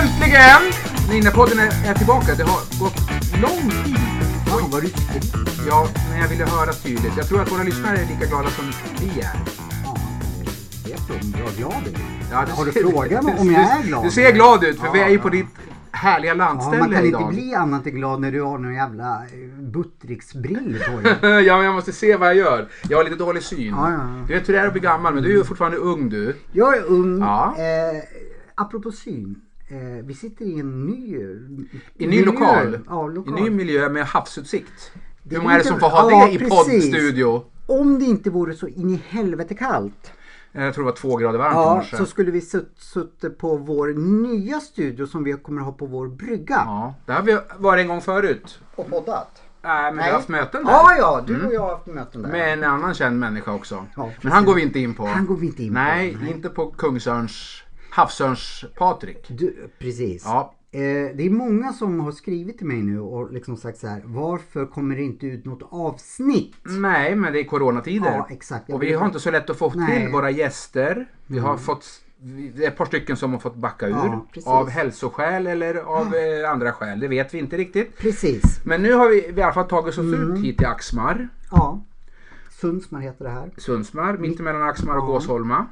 Äntligen! Ninjapodden är, är tillbaka. Det har gått lång tid. Fan vad ryckigt. Ja, men jag ville höra tydligt. Jag tror att våra lyssnare är lika glada som vi är. Ja, jag vet du om jag glad är? Ja, Har du ser- frågat mig om jag är glad? Du ser glad ut, för Ja, vi är ju ja. på ditt härliga Ja, landställe man kan idag. inte bli annat än glad när du har några jävla eh, buttricksbrillor på dig. ja, men jag måste se vad jag gör. Jag har lite dålig syn. Ja, ja, ja. Du vet hur det är att bli gammal, men du är ju fortfarande ung du. Jag är ung. Ja. Eh, apropå syn. Eh, vi sitter i en ny... I ny lokal. Ja, lokal. I ny miljö med havsutsikt. Det Hur är många är det lite- som får ha Ja, det i precis. poddstudio? Om det inte vore så in i helvete kallt. Eh, Jag tror det var två grader varmt i Ja, morse. så skulle vi sutt- suttit på vår nya studio som vi kommer ha på vår brygga. Ja, det har vi varit en gång förut. Och poddat. Äh, men vi har haft möten där. Mm. Ja, ja, du och jag har haft möten där. Med en annan känd människa också. Ja, men precis. han går vi inte in på. Han går vi inte in på. Nej, inte på Kungsörns, Havsörns Patrik. Du, precis. Ja. Eh, det är många som har skrivit till mig nu och liksom sagt så här. Varför kommer det inte ut något avsnitt? Nej, men det är coronatider. Ja, exakt. Jag Och vi vet. har inte så lätt att få Nej. Mm. till våra gäster. Vi har fått, vi- det är ett par stycken som har fått backa ur. Ja, precis. av hälsoskäl eller av eh, andra skäl. Det vet vi inte riktigt. Precis. Men nu har vi, vi i alla fall tagit oss Mm. ut hit till Axmar. Ja. Sundsmar heter det här. Mm. Sundsmar, mittemellan Axmar och Gåsholma.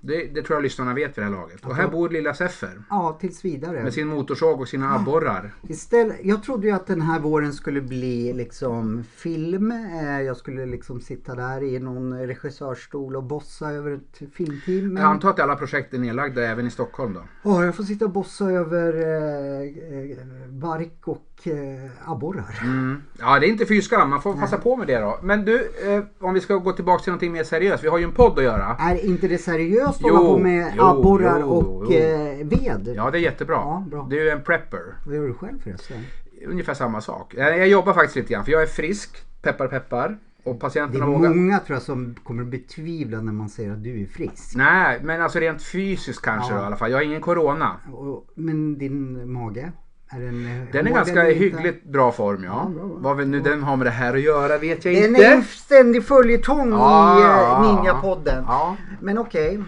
Det, det tror jag lyssnarna vet vid det här laget. Och här bor lilla Seffer. Ja, tills vidare. Med sin motorsåg och sina abborrar. Mm. Istället, jag trodde ju att den här våren skulle bli liksom film. Eh, Jag skulle liksom sitta där i någon regissörsstol och bossa över ett filmteam. Men, Jag antar att alla projekt är nedlagda även i Stockholm då. Åh, jag får sitta och bossa över eh, eh, bark och eh, abborrar. Mm. Ja, det är inte fy skam. Man får passa på med det då. Men du, eh, om vi ska gå tillbaka till någonting mer seriöst. Vi har ju en podd att göra. Är inte det seriöst att Jo, hålla på med jo, abborrar jo, och jo. eh, ved? Ja, det är jättebra. Ja, bra. Du är en prepper. Vad gör du själv förresten? Ungefär samma sak. Eh, Jag jobbar faktiskt lite grann för jag är frisk. Peppar peppar. Och Det är patienterna vågar. många tror jag som kommer att betvivla när man säger att du är frisk. Nej, men alltså rent fysiskt kanske Ja. då, i alla fall. Jag har ingen corona. Och, men din mage? Är den, eh, Den är hård ganska eller inte? hyggligt bra form ja. bra, bra. Vad vi nu den har med det här att göra vet jag Den inte. är en ständig följetong Ja, i ja, eh, ja. Ninjapodden. Ja. Men okej,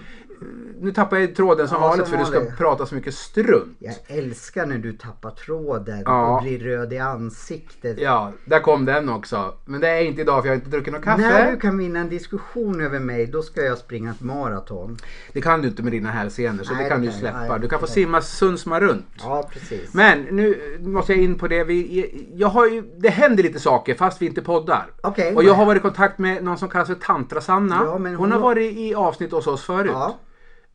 Nu tappar jag tråden som Ja, vanligt som för du ska vanligt. prata så mycket strunt. jag älskar när du tappar tråden Ja. och blir röd i ansiktet. Ja, där kom den också. Men det är inte idag för jag har inte druckit något kaffe. När du kan vinna en diskussion över mig, då ska jag springa ett maraton. Det kan du inte med dina hälsenor så Nej, det kan det du kan släppa. jag- nej, du kan få nej. simma Sundsma runt. Ja, precis. Men nu måste jag in på det. Vi, jag har ju, det händer lite saker fast vi inte poddar. Okej. och jag har varit i kontakt med någon som kallas för Tantra-Sanna. Ja, men hon, hon har har- varit i avsnitt hos oss förut. Ja,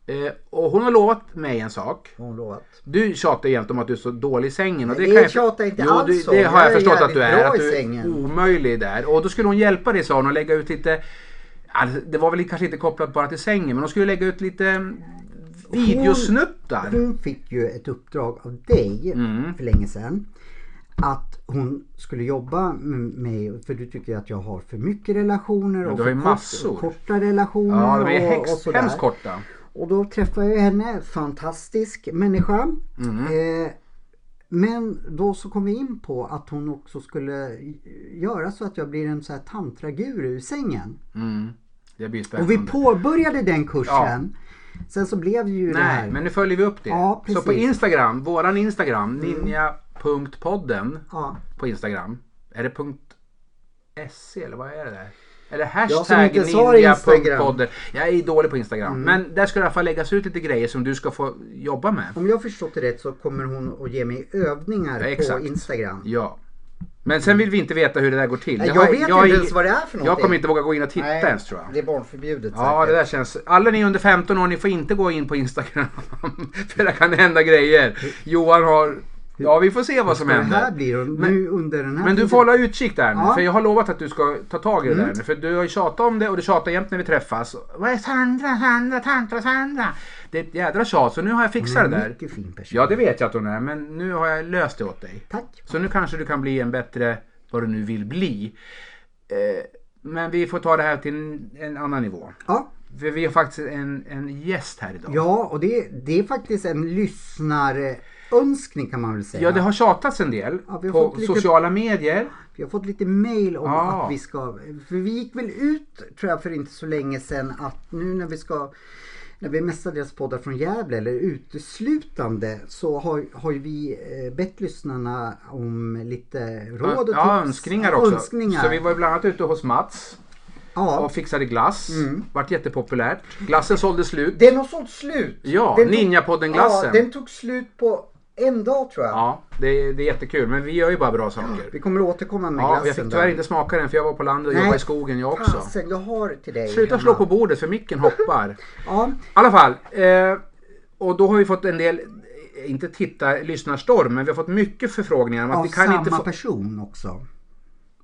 Eh, och hon har lovat mig en sak. har hon lovat. Du tjatar jämt om att du är så dålig i sängen. Och det Nej, kan det tjatar jag inte jo, alls du, om. Det har Jag jag är förstått att jävligt du är. bra Att i du är sängen. omöjlig där. Och då skulle hon hjälpa dig sa hon och lägga ut lite... Alltså, det var väl kanske inte kopplat bara till sängen men hon skulle lägga ut lite videosnuttar. Hon fick ju ett uppdrag av dig Mm. för länge sedan. Att hon skulle jobba med mig, för du tycker ju att jag har för mycket relationer och du har ju för massor. korta relationer. Ja, de är och, och hemskt, sådär. hemskt korta. Och då träffade jag henne, fantastisk människa. Mm. Eh, men då så kom vi in på att hon också skulle göra så att jag blir en så här tantraguru ur sängen. Mm. Det blir Och vi spännande. påbörjade den kursen. Sen så blev ju det Nej, här. men nu följer vi upp det. Ja, så precis. Mm. på Instagram, våran Instagram, ninja.podden Ja. på Instagram. Är det punkt .se eller vad är det där? Eller som hashtag inte Mm. svarar ninja.podden. Jag är dålig på Instagram. Men där ska det i alla fall läggas ut lite grejer som du ska få jobba med. Om jag har förstått det rätt så kommer hon att ge mig övningar Ja, på exakt. Instagram. Ja. Men sen vill vi inte veta hur det där går till. Nej, har- jag vet har- inte ens vad det är för någonting. Jag kommer inte våga gå in och titta Nej, ens tror jag. Det är barnförbjudet Ja, det säkert. där känns... Alla ni under 15 år, ni får inte gå in på Instagram. För där kan det hända grejer. Johan har... Ja, vi får se vad som Så det här händer. blir hon Men- nu under den här Men du tiden. får hålla utkik där nu. Ja. Mm. För jag har lovat att du ska ta tag i det där nu. För du har ju tjatat om det och du tjatar jämt när vi träffas. Vad är Sandra, Sandra, Tantra, Sandra? Det är ett jädra tjat. Så nu har jag fixat det där. Mycket fin person. Ja, det vet jag att hon är. Men nu har jag löst det åt dig. Tack. Så nu kanske du kan bli en bättre, vad du nu vill bli. Eh, Men vi får ta det här till en- en annan nivå. Ja, För vi har faktiskt en, en gäst här idag. Ja, och det, det är faktiskt en lyssnarönskning kan man väl säga. Ja, det har tjatats en del Ja, vi har på fått lite- sociala medier. Vi har fått lite mail om Ja. att vi ska, för vi gick väl ut tror jag för inte så länge sedan att nu när vi ska, när vi mestadels poddar från Gävle eller uteslutande så har, har ju vi eh, bett lyssnarna om lite råd och tips. ja, önskningar också. Önskningar. Så vi var ju bland annat ute hos Mats ja. och fixade glass. Mm. Vart jättepopulärt. Glassen sålde slut. Den har sålt slut. Ja, Den tog- Ninjapodden-glassen. Ja, den tog slut på en dag tror jag. Ja, det, det är jättekul. Men vi gör ju bara bra saker. Vi kommer att återkomma med Ja, glassen. jag fick där. tyvärr inte smaka den för jag var på landet och Nej. jobbade i skogen jag också. Fasen, jag har till dig. Sluta hemma. slå på bordet för micken hoppar. Ja, I alla fall. Eh, och då har vi fått en del, eh, inte titta, lyssnarstorm, men vi har fått mycket förfrågningar om att av vi kan samma inte få... person också.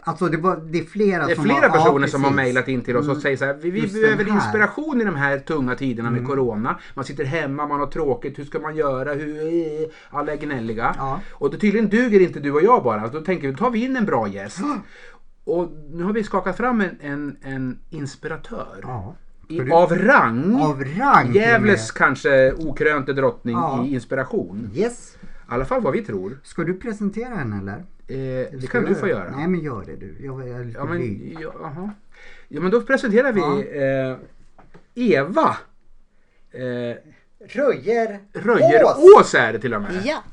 Alltså det, var, det är flera Det är som flera har, personer ja, som har precis. Mm. mejlat in till oss och säger så här, vi, vi Just behöver den här." Mm. inspiration i de här tunga tiderna med Corona. Man sitter hemma, man har tråkigt, hur ska man göra, hur, eh, alla är gnälliga. Ja. Och då tydligen duger inte du och jag bara, då tänker vi, då tar vi in en bra gäst. Och nu har vi skakat fram en, en, en inspiratör. Ja. I, av rang. Av rang till och Gävles kanske okrönte drottning Ja. i inspiration. med. Yes. I alla fall vad vi tror. Ska du presentera henne eller? Eh, Eller det ska kan jag du få göra. Nej men gör det du. Jag jag är lite Ja men, blyg. ja, aha. ja, men då presenterar vi eh, Eva eh, Röjer. Ås. Röjerås är det till och med. Ja,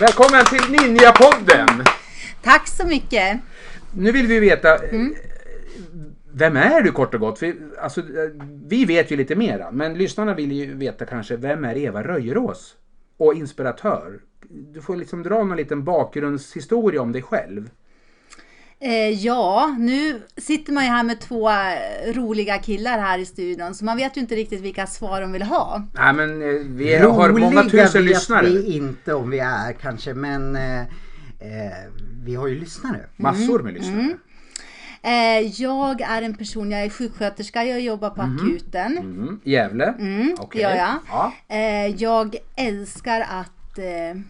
Välkommen till Ninja-podden! tack så mycket. Nu vill vi veta, eh, Mm. vem är du kort och gott? För, alltså, eh, vi vet ju lite mera, men lyssnarna vill ju veta kanske, vem är Eva Röjerås? Och inspiratör. Du får liksom dra någon liten bakgrundshistoria om dig själv. Eh, ja, nu sitter man ju här med två eh, roliga killar här i studion så man vet ju inte riktigt vilka svar de vill ha. Nej men eh, vi har många Roliga tusen vet lyssnare. vi inte om vi är kanske men eh, eh, vi har ju lyssnare. Massor Mm. med lyssnare. Eh, jag är en person, jag är sjuksköterska, jag jobbar på akuten. Mm. Gävle? Mm, det gör jag. Eh, jag älskar att eh,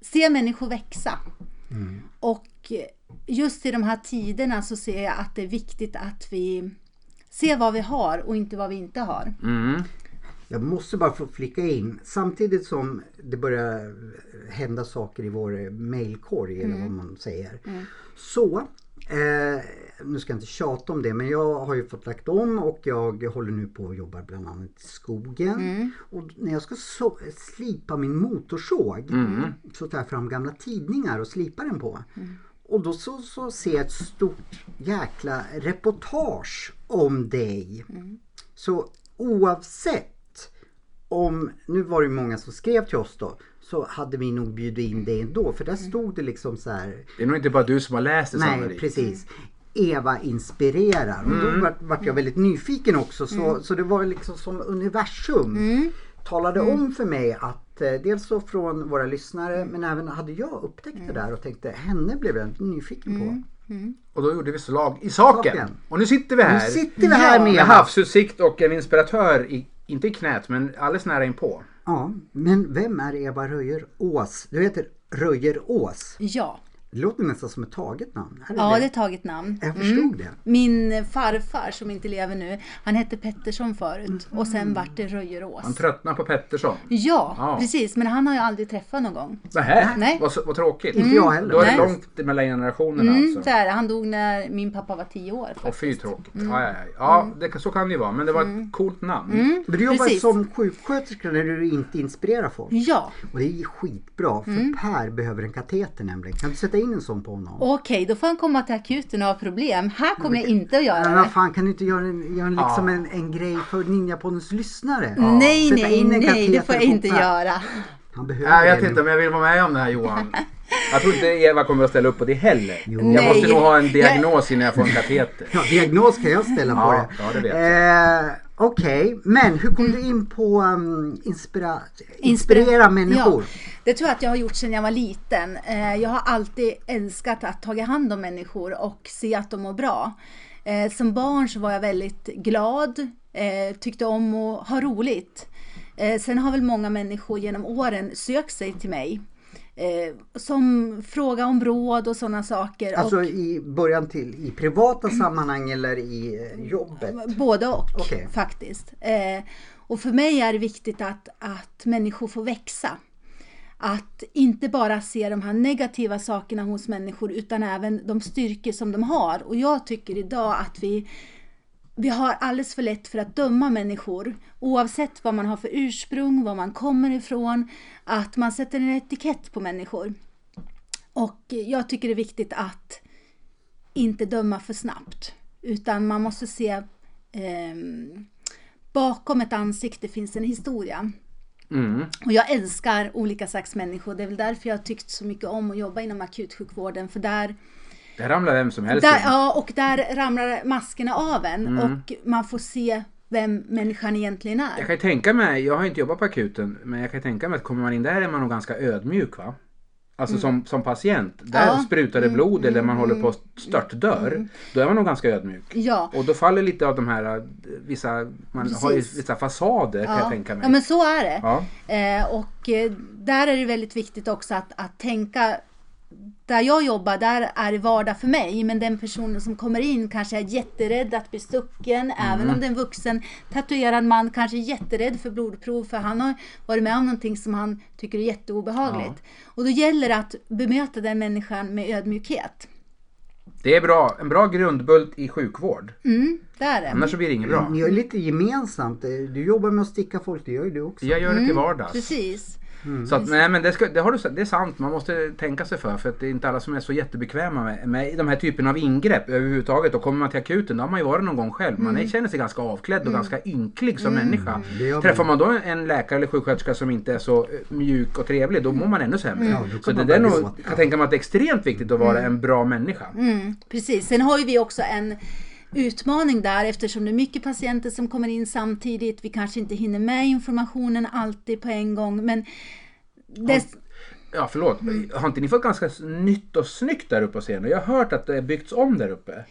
se människor växa. Och just i de här tiderna så ser jag att det är viktigt att vi ser vad vi har och inte vad vi inte har. Mm. Jag måste bara få flicka in. Samtidigt som det börjar hända saker i vår mailkorg eller vad man säger. Så, eh, nu ska jag inte tjata om det men jag har ju fått lagt om och jag håller nu på och jobbar bland annat i skogen. Och när jag ska så, slipa min motorsåg så tar jag fram gamla tidningar och slipar den på. Och då så, så ser jag ett stort jäkla reportage om dig. Så oavsett om, nu var det ju många som skrev till oss då, så hade vi nog bjudit in dig ändå för där stod det liksom så här, Det är nog inte bara du som har läst det nej sannolikt. Mm. precis, Eva inspirerar. Och då vart, vart jag väldigt nyfiken också så, så det var liksom som universum Mm. talade om för mig att eh, Dels så från våra lyssnare men även hade jag upptäckt Mm. det där och tänkte henne blev jag nyfiken på. Och då gjorde vi slag i saken. Saken. Och nu sitter vi Nu här. sitter vi här med med Eva. havsutsikt och en inspiratör, i, inte i knät men alldeles nära inpå. Ja, men vem är Eva Röjer Ås? Du heter Röjer Ås. Ja, Det låter nästan som ett taget namn. Är det ja det? det Mm. är taget namn. Jag förstod det. Min farfar som inte lever nu, han hette Pettersson förut och sen vart det Röjerås. Mm. Han tröttnar på Pettersson. Ja, Ja. precis, men han har jag aldrig träffat någon gång. Nähä, Nej. Vad, så- vad tråkigt. Inte jag heller. Då är det Nej. långt mellan generationerna Mm, alltså. så är det. Han dog när min pappa var tio år. Och fy tråkigt. Mm. Ja, ja, ja. ja det, kan- så kan det ju vara. Men det var ett coolt namn. Men du jobbar Precis. Mm. som sjuksköterska när du inte inspirerar folk. Ja, Och det är skitbra för Mm. Per behöver en kateter nämligen. Kan du sätta in en sån på honom? okej, då får han komma till akuten och ha problem. Här Mm. kommer jag inte att göra Men vad det. fan kan du inte göra en, göra en, liksom en, en grej för Ninjapoddens lyssnare? Nej, Sätta nej, in en nej, det kateter får jag på inte Per. göra. Han behöver Nej, jag det vet inte om nu. jag vill vara med om det här Johan. Jag tror inte Eva kommer att ställa upp på det heller. Jag Nej. måste nog ha en diagnos innan jag får en kateter. Ja, diagnos kan jag ställa på Ja, det. ja, det vet eh, Okej, men hur kom du in på um, inspira, inspirera Mm. Inspira- människor? Ja, det tror jag att jag har gjort sedan jag var liten. Eh, Jag har alltid älskat att ta hand om människor och se att de mår bra. Eh, Som barn så var jag väldigt glad, eh, tyckte om att ha roligt. Eh, Sen har väl många människor genom åren sökt sig till mig. eh, som fråga om råd och sådana saker. Alltså i början till i privata sammanhang eller i eh, jobbet? och, både och Okej. faktiskt. Eh, och för mig är det viktigt att, att människor får växa. Att inte bara se de här negativa sakerna hos människor utan även de styrkor som de har. Och jag tycker idag att vi vi har alldeles för lätt för att döma människor oavsett vad man har för ursprung, var man kommer ifrån, att man sätter en etikett på människor. Och jag tycker det är viktigt att inte döma för snabbt utan man måste se ehm, bakom ett ansikte finns en historia. Mm. Och jag älskar olika slags människor. Det är väl därför jag har tyckt så mycket om att jobba inom akutsjukvården för där Det Mm. ramlar vem som helst där, in. ja, och där ramlar maskerna av en och man får se vem människan egentligen Jag är. kan ju tänka mig, jag har inte jobbat på akuten, men jag kan tänka mig att kommer man in där är man nog ganska ödmjuk va? Alltså som, som patient, där Mm. Ja. Mm. sprutar det blod eller man håller på att störtdör. Då är man nog ganska ödmjuk. Ja, Och då faller lite av de här eh, vissa, man har ju Precis. vissa fasader kan jag ja. tänka mig. ja men så är det. ja. Eh, och eh, där är det väldigt viktigt också att, att tänka där jag jobbar, där är det vardag för mig. Men den personen som kommer in kanske är jätterädd att bli stucken. Även om det är en vuxen tatuerad man kanske är jätterädd för blodprov. För han har varit med om någonting som han tycker är jätteobehagligt. Och då gäller det att bemöta den människan med ödmjukhet. Det är bra, en bra grundbult i sjukvård. Mm, det är det. Annars så blir det inget bra. Mm. Ni gör lite gemensamt. Eh, Du jobbar med att sticka folk, det gör ju du också. Jag gör det till vardags. Mm. Precis. Så Mm. att, nej men det, ska, det, har du, sa- det är sant, man måste tänka sig för för att det är inte alla som är så jättebekväma med, med de här typen av ingrepp överhuvudtaget. Och kommer man till akuten, då har man ju varit någon gång själv. Man Mm. är, känner sig ganska avklädd och ganska ynklig som människa. Det gör man. Träffar man då en läkare eller sjuksköterska som inte är så eh, mjuk och trevlig, då mår man ännu sämre. Mm. Ja, då kan så det man där är börja nog, gråta. jag kan tänka mig att det är extremt viktigt att vara en bra människa. Mm, precis. Sen har ju vi också en utmaning där eftersom det är mycket patienter som kommer in samtidigt. Vi kanske inte hinner med informationen alltid på en gång. Men det, Ja, förlåt. Mm. Har inte ni fått ganska s- nytt och snyggt där uppe på scenen? Jag har hört att det har byggts om där uppe.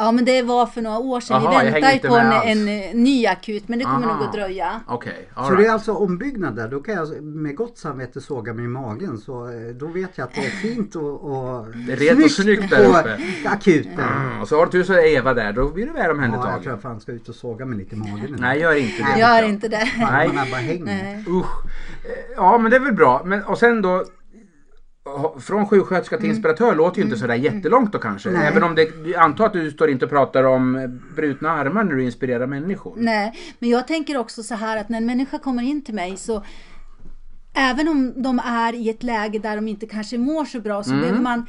ja, men det var för några år sedan. Aha, jag vi hänger väntar ju inte på med en, alls. en eh, ny akut men det kommer Aha. nog att dröja. Okej, Så okay, det är alltså ombyggnad där. Då kan jag med gott samvete såga mig i magen. Så eh, då vet jag att det är fint och, och är rent och snyggt där på uppe. akuten. Mm, och så har du tur så är Eva där, då blir du väl Ja, jag omhändertagen. tror jag fan ska ut och såga mig lite i magen. nu. Nej, gör inte det. Gör inte det. Nej. Armarna bara hänger. Nej. Usch. Eh, Ja, men det är väl bra. Men, och sen då, ha- från sjuksköterska Mm. till inspiratör låter ju inte sådär jättelångt då kanske. Nej. Även om det, jag antar att du står inte och pratar om eh, brutna armar när du inspirerar människor. Nej, men jag tänker också så här att när en människa kommer in till mig så även om de är i ett läge där de inte kanske mår så bra så behöver man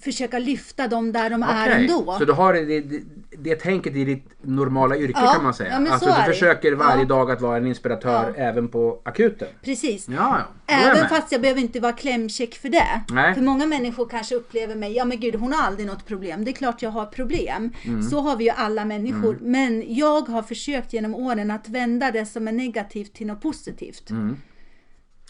försöka lyfta dem där de är Mm. Okej, ändå. Så du har det, det, det tänket i ditt normala yrke Ja, kan man säga. ja, men så alltså är det. du försöker varje Ja. dag att vara en inspiratör även på akuten. Precis. Ja, ja. Då är jag Även med. fast jag behöver inte vara klämkäck för det. Nej. För många människor kanske upplever mig, ja men gud hon har aldrig något problem. Det är klart jag har problem. Mm. Så har vi ju alla människor. Men jag har försökt genom åren att vända det som är negativt till något positivt. Mm.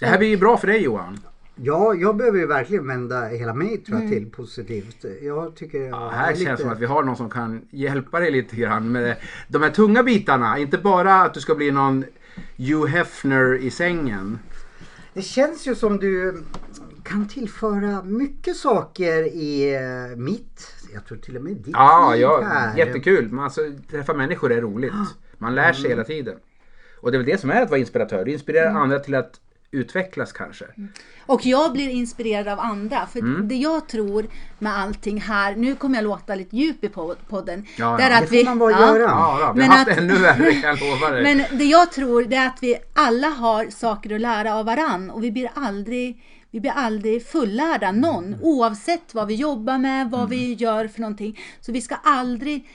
Det här blir ju bra för dig Johan. Ja, jag behöver ju verkligen vända hela mig tror Mm. jag till positivt. Jag tycker jag Ja, är här lite- känns det som att vi har någon som kan hjälpa dig lite grann med de här tunga bitarna. Inte bara att du ska bli någon Hugh Hefner i sängen. Det känns ju som du kan tillföra mycket saker i eh, mitt, jag tror till och med ditt Ja, liv ja här. jättekul. Man, alltså, träffa människor är roligt. Man lär sig hela tiden. Och det är väl det som är att vara inspiratör. Du inspirerar andra till att utvecklas kanske. Och jag blir inspirerad av andra. För Mm. det jag tror med allting här, nu kommer jag låta lite djup i pod- podden. Ja, det ja. är Det får man bara göra. Ja, då, vi Men har haft att- ännu värre kan jag lova dig. Men det jag tror det är att vi alla har saker att lära av varann och vi blir aldrig, vi blir aldrig fullärda Mm. någon oavsett vad vi jobbar med, vad vi gör för någonting. Så vi ska aldrig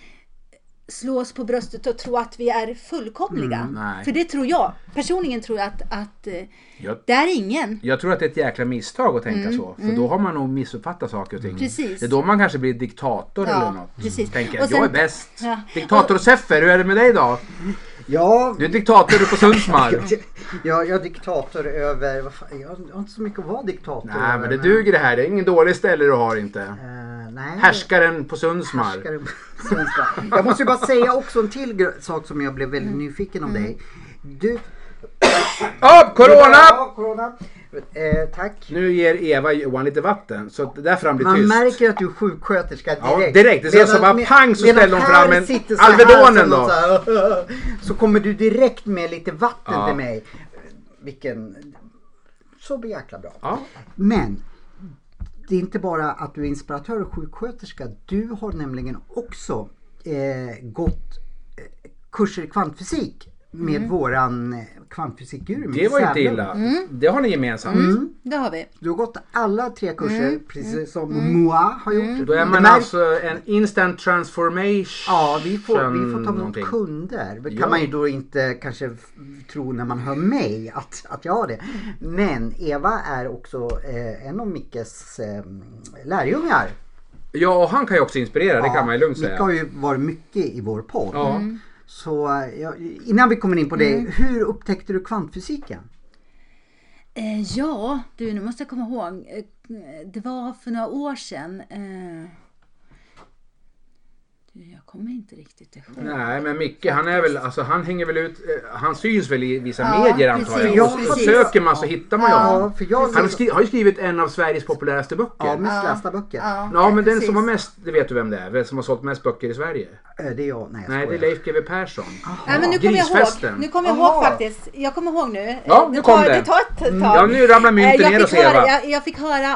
slå oss på bröstet och tro att vi är fullkomliga. Mm, nej. för det tror jag, personligen tror jag att, att eh, Jag, det är ingen. jag tror att det är ett jäkla misstag att Mm, tänka så. För då har man nog missuppfattat saker och ting. Precis. Det är då man kanske blir diktator Ja, eller något. precis. Tänker, Och sen- jag är bäst. Ja. Diktator Seffer, hur är det med dig idag? Ja, Du är diktator på Sundsmark. jag, jag, jag är diktator över, vad fan, jag har inte så mycket att vara diktator Nej över, men det duger det här. Det är ingen dålig ställe du har inte. Eh, nej. Härskaren på Sundsmark. Härskare på svenska. Jag måste ju bara säga också en till gr- sak som jag blev väldigt nyfiken om dig. Du... Upp corona! Ja, corona. Eh, tack. Nu ger Eva Johan lite vatten så att där fram blir Man tyst. märker att du är sjuksköterska Ja, direkt. direkt. Det ser ut som bara med- pang så medan ställer hon här fram en sitter så här Alvedonen som då. någon Så, här, så kommer du direkt med lite vatten Ja. till mig. Vilken... Så jäkla bra. Ja. Men det är inte bara att du är inspiratör och sjuksköterska. Du har nämligen också eh, gått eh, kurser i kvantfysik med våran eh, kvantfysikguru. Mm. Det Micke var ju inte Sävlund. illa. Det har ni gemensamt. Mm. Det har vi. Du har gått alla tre kurser precis som Moa har gjort. Mm. Då är Det man märks- alltså en instant transformation. Ja, vi får, vi får ta emot någonting. kunder. Det kan Ja. man ju då inte kanske f- tro när man hör mig att, att jag har det. Men Eva är också eh, en av Mickes eh, lärjungar. Ja, och han kan ju också inspirera, det kan man ju lugnt Micke säga. har ju Mm. varit mycket i vår podd. Ja. Så eh, ja, innan vi kommer in på det, Mm. hur upptäckte du kvantfysiken? Eh, ja, du nu måste jag komma ihåg. Eh, Det var för några år sedan. Eh, du, jag kommer inte riktigt ihåg. Nej, men Micke han är väl, alltså han hänger väl ut, eh, han syns väl i vissa Ja, medier antar jag. precis, och så precis. söker man så hittar man ju honom. för jag Han skri- har ju skrivit en av Sveriges populäraste böcker. Ja, Ja, mest lästa böcker. Ja, men den precis. som har mest, det vet du vem det är, vem som har sålt mest böcker i Sverige? Eh, Det är jag. Nej, jag Nej, det är skojar. Leif GW Persson. Nej, men nu kommer jag Grisfesten. ihåg. Nu kommer jag Aha. ihåg faktiskt. Jag kommer ihåg nu. Eh, Ja, nu det, kom tar, det. Mm, det tar ett tag. Ja, nu ramlar mynten Eh, ner jag, hos fick höra, Eva. jag, jag fick höra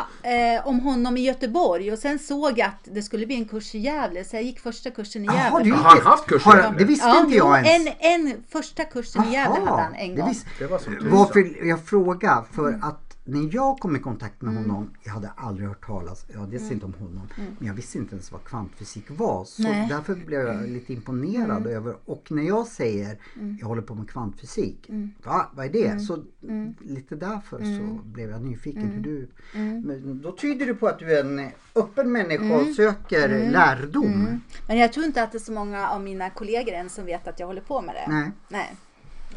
eh, om honom i Göteborg och sen såg jag att det skulle bli en kurs i Gävle så jag gick första kursen i Gävle. Jaha, du gick Har han ett- haft kurser har i han- Gävle? Det visste ja, inte jag jo, ens. En, en första kursen i Gävle Jaha, hade han en det gång. Mm. visste- Eh, Det var som tusan. Varför jag frågar? För att när jag kom i kontakt med honom, jag hade aldrig hört talas, jag visste Mm. inte om honom, men jag visste inte ens vad kvantfysik var. Så Nej. Mm. därför blev jag lite imponerad över, och när jag säger jag håller på med kvantfysik, Mm. va, vad är det? Så lite därför så Mm. blev jag nyfiken hur du... Men då tyder det på att du är en öppen människa Mm. och söker lärdom. Men jag tror inte att det är så många av mina kollegor än som vet att jag håller på med det. Nej. Nej.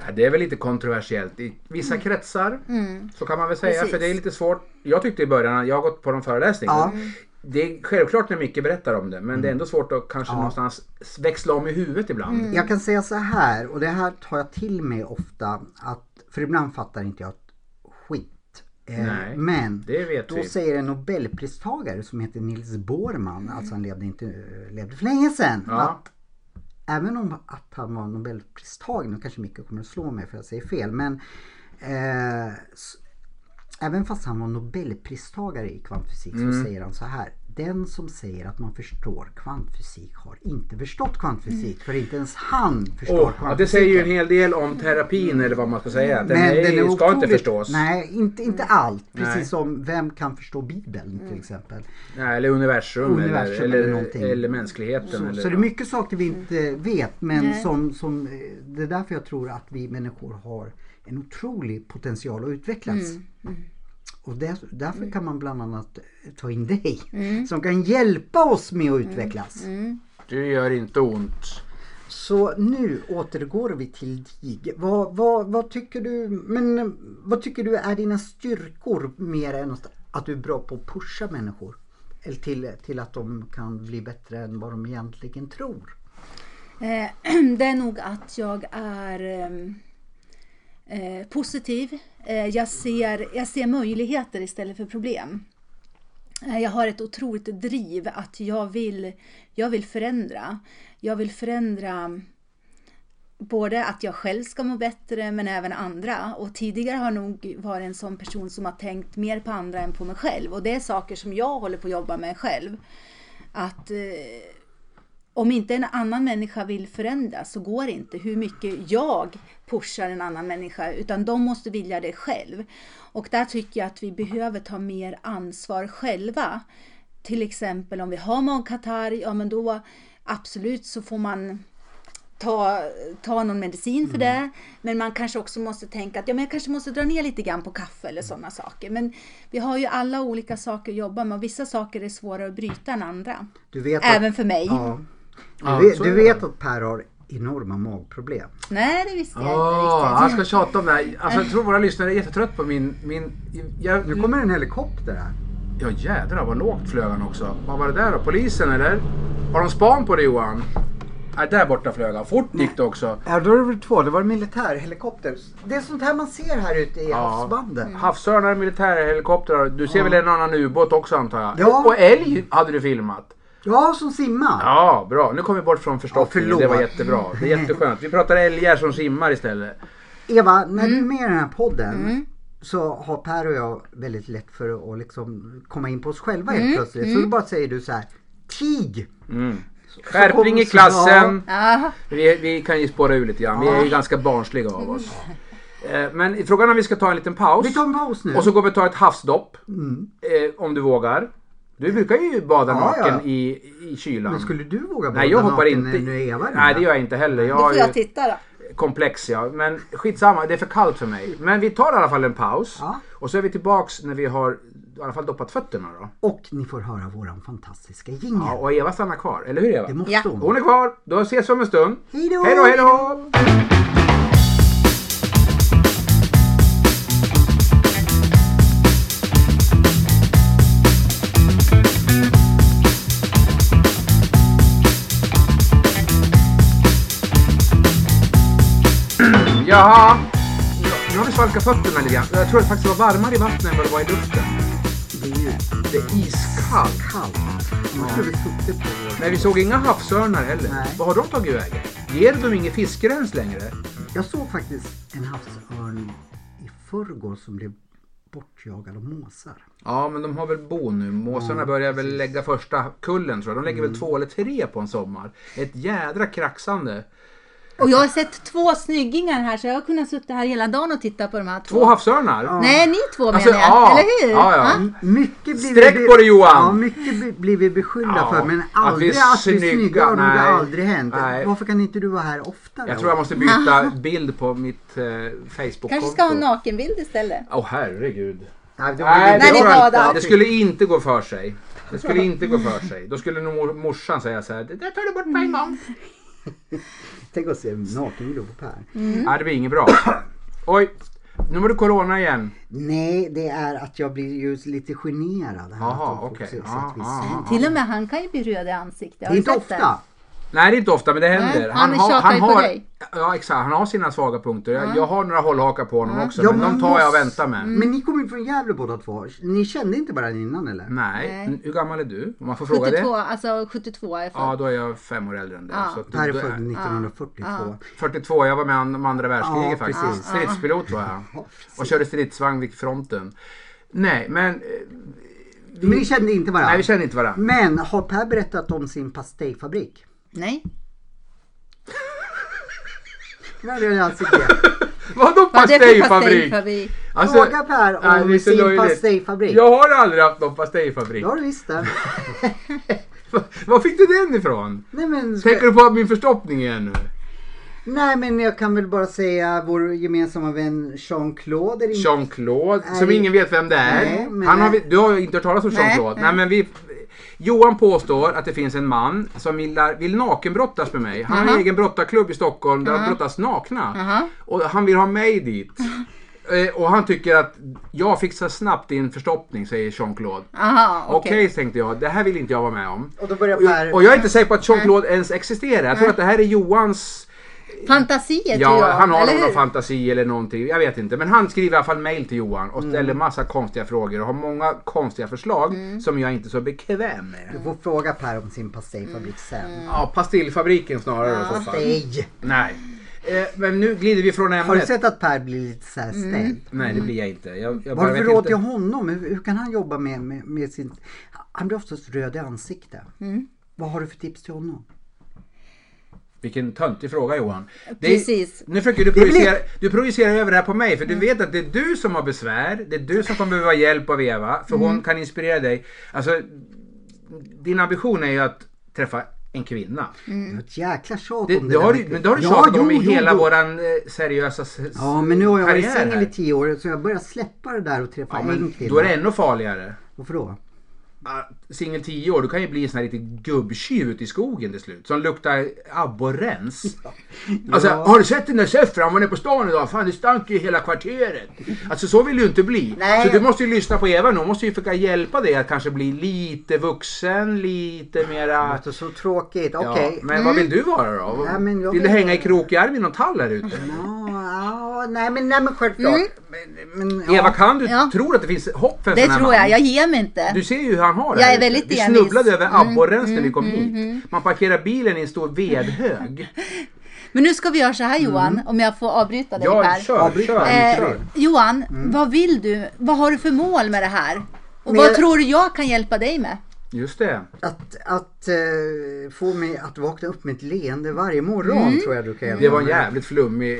Ja, Det är väl lite kontroversiellt i vissa Mm. kretsar. Så kan man väl säga. Precis. För det är lite svårt. Jag tyckte i början, jag har gått på de föreläsningarna. Ja. Mm. Det är självklart när mycket berättar om det. Men det är ändå svårt att kanske någonstans växla om i huvudet ibland. Jag kan säga så här, och det här tar jag till mig ofta, att, för ibland fattar inte jag ett skit. Eh, Nej, Men det vet då vi. säger en nobelpristagare som heter Niels Bohrman, alltså han levde, inte, levde för länge sedan, Ja. att även om att han var nobelpristagare, nu kanske Micke kommer att slå mig för att jag säger fel, men eh, s- Även fast han var nobelpristagare i kvantfysik Mm. så säger han så här. Den som säger att man förstår kvantfysik har inte förstått kvantfysik. För inte ens han förstår Och, ja, kvantfysik. det säger ju en hel del om terapin Mm. eller vad man ska säga. Den, är, ska inte otroligt- förstås. Nej. Nej, inte, inte allt. Precis Nej. Mm. som vem kan förstå Bibeln till exempel. eller universum, Universum eller, eller eller, någonting. eller mänskligheten. Så, eller, så det är mycket saker vi inte vet. Men Nej. som, som, eh, det är därför jag tror att vi människor har en otrolig potential att utvecklas. Och där, därför kan man bland annat eh, ta in dig som kan hjälpa oss med att utvecklas. Du gör inte ont. Så nu återgår vi till dig. Vad, vad, vad, tycker du, men, eh, vad tycker du är dina styrkor mer än att, att du är bra på att pusha människor? Eller till, till att de kan bli bättre än vad de egentligen tror? Eh, Det är nog att jag är ehm, eh, positiv. Eh, Jag ser, jag ser möjligheter istället för problem. Eh, Jag har ett otroligt driv att jag vill, jag vill förändra. Jag vill förändra både att jag själv ska må bättre men även andra. Och tidigare har jag nog varit en sån person som har tänkt mer på andra än på mig själv. Och det är saker som jag håller på att jobba med själv. Att eh, om inte en annan människa vill förändras så går det inte hur mycket jag pushar en annan människa utan de måste vilja det själv. Och där tycker jag att vi behöver ta mer ansvar själva. Till exempel om vi har magkatarr, ja men då absolut så får man ta, ta någon medicin för det. Men man kanske också måste tänka att ja, men jag kanske måste dra ner lite grann på kaffe eller sådana saker. Men vi har ju alla olika saker att jobba med och vissa saker är svårare att bryta än andra. Du vet att- Även för mig. Ja. Du, Ja, vet, så du är det. vet att Per har enorma magproblem. Nej, det visste jag Ja, inte han riktigt. ska tjata om det Ah, här. Alltså, jag tror våra lyssnare är jättetrött på min... min jag, Mm. Nu kommer en helikopter här. Ja jädrar vad lågt flög han också. Vad var det där då? Polisen eller? Har de span på det Johan? Ja, där borta flög han. Fort gick det också. Ja, då är det väl två. Det var militärhelikopter. Det är sånt här man ser här ute i Ja. havsbandet. Mm. Havsörnar, militärhelikoptrar. Du ser väl en annan ubåt också antar jag? Ja. Och älg hade du filmat. Ja, som simmar. Ja, bra. Nu kom vi bort från förstoppningen. Ja, det förlåt. var jättebra. Det är jätteskönt. Vi pratar älgar som simmar istället. Eva, när Mm. du är med i den här podden så har Per och jag väldigt lätt för att liksom komma in på oss själva helt Mm. plötsligt. Så då bara säger du så här, TIG! Skärpning i Så kommer- klassen. Ja. Vi, vi kan ju spåra ur lite grann. Vi är ju ganska barnsliga av oss. Eh, Men frågan är om vi ska ta en liten paus. Vi tar en paus nu. Mm. Och så går vi och tar ett havsdopp. Eh, om du vågar. Du brukar ju bada Mm. Ja, naken ja. I, i kylan. Men skulle du våga Nej, jag bada hoppar naken inte. när du är Eva? Nej, det gör jag inte heller. Jag Då har får jag ju titta då. komplex, ja. Men skitsamma, det är för kallt för mig. Men vi tar i alla fall en paus. Ja. Och så är vi tillbaks när vi har i alla fall doppat fötterna då. Och ni får höra våran fantastiska jingel. Ja, och Eva stannar kvar, eller hur Eva? Det måste Ja. hon. Hon är kvar, då ses vi om en stund. Hej då! Hej då, hej då! Jaha, nu- nu har vi svalkat fötterna lite grann. Jag tror att det faktiskt var varmare i vattnet än vad det var i luften. Det är ju Det är iskallt. kallt. Man skulle vi suttit på vår... Men vi såg inga havsörnar heller. Nej. Vad har de tagit vägen? Ger de inget fiskrens längre? Jag såg faktiskt en havsörn i förrgår som blev bortjagad av måsar. Ja, men de har väl bo nu. Måsarna börjar väl lägga första kullen tror jag. De lägger väl två eller tre på en sommar. Ett jädra kraxande. Och jag har sett två snyggingar här så jag har kunnat sitta här hela dagen och titta på de här två. Två havsörnar? Ja. Nej, ni två Alltså, menar jag. ja. Eller hur? Ja, ja. Mycket blir Mm. Sträck vi, på dig, Johan! Ja, mycket bli- blir vi beskyllda Ja, för men att vi är aldrig att vi är snygga, snygga har nog nej. aldrig hänt. Nej. Varför kan inte du vara här oftare? Jag tror jag måste byta bild på mitt eh, Facebook-konto. Kanske ska ha en nakenbild istället. Åh herregud. Nej, det var Nej, ju- det, När ni går inte. badar. det skulle inte gå för sig. Det skulle inte gå för sig. Då skulle nog mor- morsan säga så här. Det där tar du bort på en gång. Tänk att se en nakenbild på Per. Mm. Nej, det blir inget bra. Oj, nu var det corona igen. Nej, det är att jag blir ju lite generad. Här, Jaha, att de okej. fokuserar Ja, så att vi ja, syns. Till och med han kan ju bli röd i ansiktet. Det Har är inte du sett det? ofta. Nej, det är inte ofta, men det händer. Nej, han har, tjatar ju på har, dig. Ja, exakt. Han har sina svaga punkter. Jag, jag har några hållhakar på honom också, Ja, men men de man tar jag och måste- väntar med. Mm. Men ni kommer ju från Gävle båda två. Ni kände inte varandra innan eller? Nej. Nej. N- hur gammal är du? Om man får fråga 72, det? alltså 72 är jag född. Ja, då är jag fem år äldre än dig. Ja. Så att Per är du- född 1942. Ah. 42, jag var med om andra världskriget Ja, faktiskt. precis. Stridspilot var jag. Och körde stridsvagn vid fronten. Nej, men... eh, Vi, Men ni kände inte varandra? nej, vi känner inte varandra. Men har Per berättat om sin pastejfabrik? Nej. Nej, det har jag inte sett. Vadå Vad är typ det för pastejfabrik? pastejfabrik? Alltså, Fråga Per nej, det är om så sin löjligt. pastejfabrik. Ja. Jag har aldrig haft någon pastejfabrik. Det har du visst det. Var fick du den ifrån? Nej men, Tänker du på min förstoppning igen nu? nej men jag kan väl bara säga vår gemensamma vän Jean-Claude. är inte- Jean-Claude, som Nej. ingen vet vem det är. Nej, men- Han har, vi- du har ju inte hört talas om Nej, Jean-Claude. Nej, men vi, Johan påstår att det finns en man som gillar, vill nakenbrottas med mig. Han har en Aha. egen brottarklubb i Stockholm där han brottas nakna. Aha. Och han vill ha mig dit. Eh, Och han tycker att jag fixar snabbt din förstoppning, säger Jean-Claude. Aha, Okej, okej. tänkte jag. Det här vill inte jag vara med om. Och då börjar Och- Per. Och jag är inte säker på att Jean-Claude ens existerar. Jag tror att det här är Johans Fantasier tror Ja, jag. han har eller någon hur? fantasi eller någonting. Jag vet inte. Men han skriver i alla fall mail till Johan och ställer Mm. massa konstiga frågor och har många konstiga förslag som jag inte är så bekväm med. Du får fråga Per om sin pastejfabrik sen. Ja, pastillfabriken snarare i så fall. Pastej. Nej. Eh, men nu glider vi från ämnet. Har du sett att Per blir lite så här Mm. ställd? Nej, det blir jag inte. Jag, jag bara Varför vet råder jag inte. honom? Hur, hur kan han jobba med, med, med sin... Han blir oftast röd i ansiktet. Vad har du för tips till honom? Vilken töntig fråga Johan. Det är- Precis. Nu försöker du Det blir- projicera, du projicerar över det här på mig för du vet att det är du som har besvär. Det är du som kommer behöva hjälp av Eva för Mm. hon kan inspirera dig. Alltså, din ambition är ju att träffa en kvinna. Det var ett jäkla tjat Det, om det, det där har du, med- men det har du Mm. Ja, tjatat om jo, i jo, hela jo. våran eh, seriösa s- s- Ja, men nu har jag varit karriär singel här. i tio år så jag börjar släppa det där och träffa Ja, en men kvinna. då är det ännu farligare. Varför då? ah, singel 10 år, du kan ju bli en sån här riktig gubbtjuv ute i skogen till slut. Som luktar abborrens. Alltså, har du sett den där Seffran? Han är på stan idag. Fan, det stank ju i hela kvarteret. Alltså så vill du inte bli. Nej. Så du måste ju lyssna på Eva nu. Hon måste ju försöka hjälpa dig att kanske bli lite vuxen, lite Det mera... låter Alltså, så tråkigt. Okej. Mm. Ja, Men vad vill du vara då? Nej, men jag vill du vill- hänga i krokjärv i någon tall här ute? Ja, ja, nej men, nej, men självklart. Men, men, ja. Eva, kan du Ja. tro att det finns hopp för en Det sån här tror man? jag, jag ger mig inte. Du ser ju hur han har det Jag här är väldigt ute. Vi envis. snubblade över Mm, abborrens när vi kom hit. Man parkerar bilen i en stor vedhög. Men nu ska vi göra så här Johan, om jag får avbryta dig Mm. Ja, Per. kör, kör, Avbryt mig. kör. Eh, Johan, vad vill du? Vad har du för mål med det här? Och Men- vad tror du jag kan hjälpa dig med? Just det. Att, att eh, få mig att vakna upp med ett leende varje morgon tror jag du kan hjälpa Det var en mig. jävligt flummig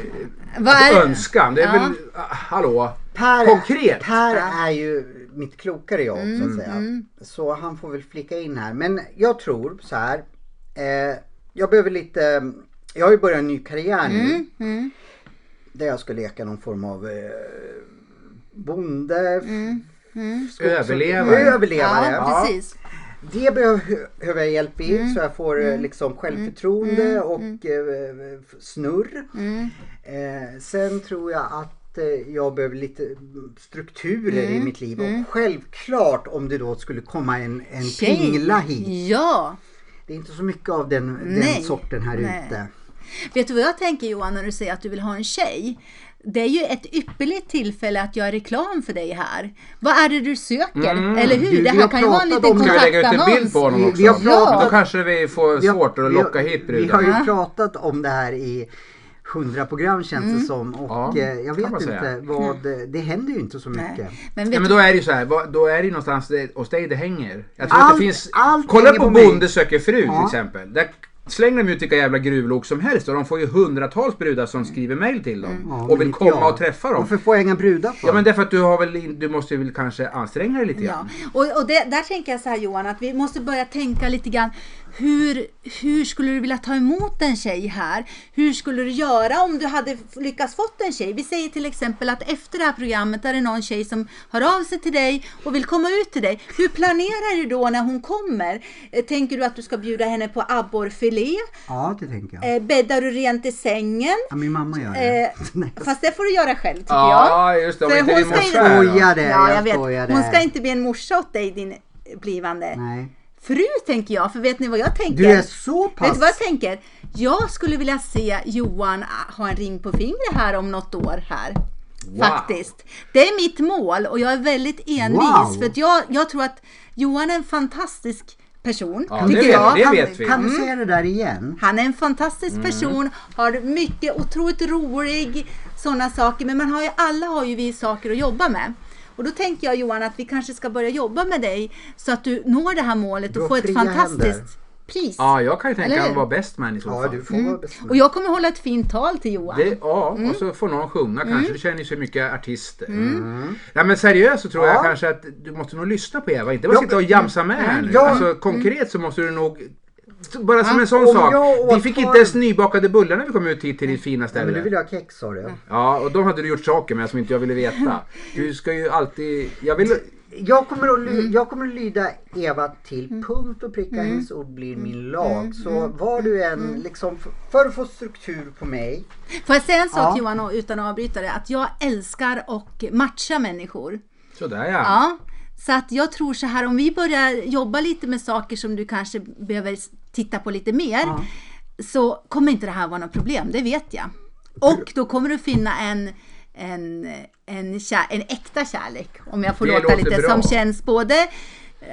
alltså, Vad är det? önskan. Det är Ja. väl, ah, hallå, Per, konkret. Per är ju mitt klokare jag så att säga. Så han får väl flicka in här. Men jag tror så här. Eh, jag behöver lite, jag har ju börjat en ny karriär nu. Mm. Där jag ska leka någon form av eh, bonde. skogs- Överlevare. överlevare. Ja, precis. Det behöver behöver jag hjälp i Mm. så jag får eh, liksom självförtroende och Mm. eh, f- snurr. Eh, sen tror jag att eh, jag behöver lite mm, strukturer Mm. i mitt liv och självklart om det då skulle komma en, en Tjej. pingla hit. Ja! Det är inte så mycket av den, den Nej. sorten här Nej. ute. Vet du vad jag tänker Johan när du säger att du vill ha en tjej? Det är ju ett ypperligt tillfälle att göra reklam för dig här. Vad är det du söker? Eller hur? Du, det vi har här kan ju vara en pratat liten om- Ska Ska vi lägga ut en kontaktannons. bild på honom Vi- också? vi har pratat- Men Då kanske vi får Vi har- svårt att vi har- locka hit Vi har brudar. ju pratat om det här i hundra program känns Mm. det som och Ja, eh, jag kan vet man säga. inte vad, det händer ju inte så mycket. Men Ja, vet men då är det ju så här, vad- då är det ju någonstans det, hos dig det hänger. Jag tror att Allt- det finns, allt kolla hänger på på mig. Bonde söker fru till Ja. exempel. Där slänger de ut vilka jävla gruvlok som helst och de får ju hundratals brudar som skriver mail till dem Mm. Ja, men och vill inte komma jag. och träffa dem. Varför får jag inga brudar för? Ja men därför att du har väl, in- du måste ju väl kanske anstränga dig lite Ja, grann. och, och det, där tänker jag så här Johan, att vi måste börja tänka lite grann hur, hur skulle du vilja ta emot en tjej här? Hur skulle du göra om du hade f- lyckats fått en tjej? Vi säger till exempel att efter det här programmet är det någon tjej som hör av sig till dig och vill komma ut till dig. Hur planerar du då när hon kommer? Eh, Tänker du att du ska bjuda henne på abborrfilé? Ja, det tänker jag. Eh, Bäddar du rent i sängen? Ja, min mamma gör det. Eh, Nej. fast det får du göra själv tycker jag. Ja, just det. Om För inte hon din ska morsa ju- är då. Skojade, Ja, jag jag vet. skojade. Hon ska inte bli en morsa åt dig, din blivande Nej. fru tänker jag, för vet ni vad jag tänker? Du är så pass... Vet du vad jag tänker? Jag skulle vilja se Johan ah, ha en ring på fingret här om något år här. Faktiskt. Det är mitt mål och jag är väldigt envis Wow. för att jag, jag tror att Johan är en fantastisk person. Ja, tycker det vet- jag. det kan, vet vi. Kan du säga det där igen? Han är en fantastisk Mm. person, har mycket otroligt rolig, sådana saker. Men man har ju, alla har ju vi saker att jobba med. Och då tänker jag Johan att vi kanske ska börja jobba med dig så att du når det här målet Du och har får ett fria fantastiskt händer. pris. Ja, jag kan ju Eller tänka mig hur? att vara bäst man i så Ja, fall. du får Mm. vara bestämd. Och jag kommer hålla ett fint tal till Johan. Det, ja, Mm. och så får någon sjunga kanske. Det känner ju så mycket artister. Mm. Nej men seriöst så tror Ja. jag kanske att du måste nog lyssna på Eva. Inte bara Ja, Mm. sitta och jamsa med här nu. Ja. Alltså konkret så måste du nog bara som en om sån sak. jag åt Vi fick torv- inte ens nybakade bullar när vi kom ut hit till ditt fina Men du vill ställe. ha kex sa Mm. du. Ja, och de hade du gjort saker med som inte jag ville veta. Du ska ju alltid... Jag vill... Jag kommer, att Mm. ly- jag kommer att lyda Eva till punkt och pricka. Hennes ord blir Mm. min lag. Så var du än liksom, f- för att få struktur på mig. Får jag säga en sak Ja. Johan och- utan att avbryta det? Att jag älskar och matcha människor. Sådär ja. Ja. Så att jag tror så här, om vi börjar jobba lite med saker som du kanske behöver s- titta på lite mer. Så kommer inte det här vara något problem, det vet jag. Och då kommer du finna en, en, en, kär, en äkta kärlek, om jag får Det låta låter lite, bra. som känns både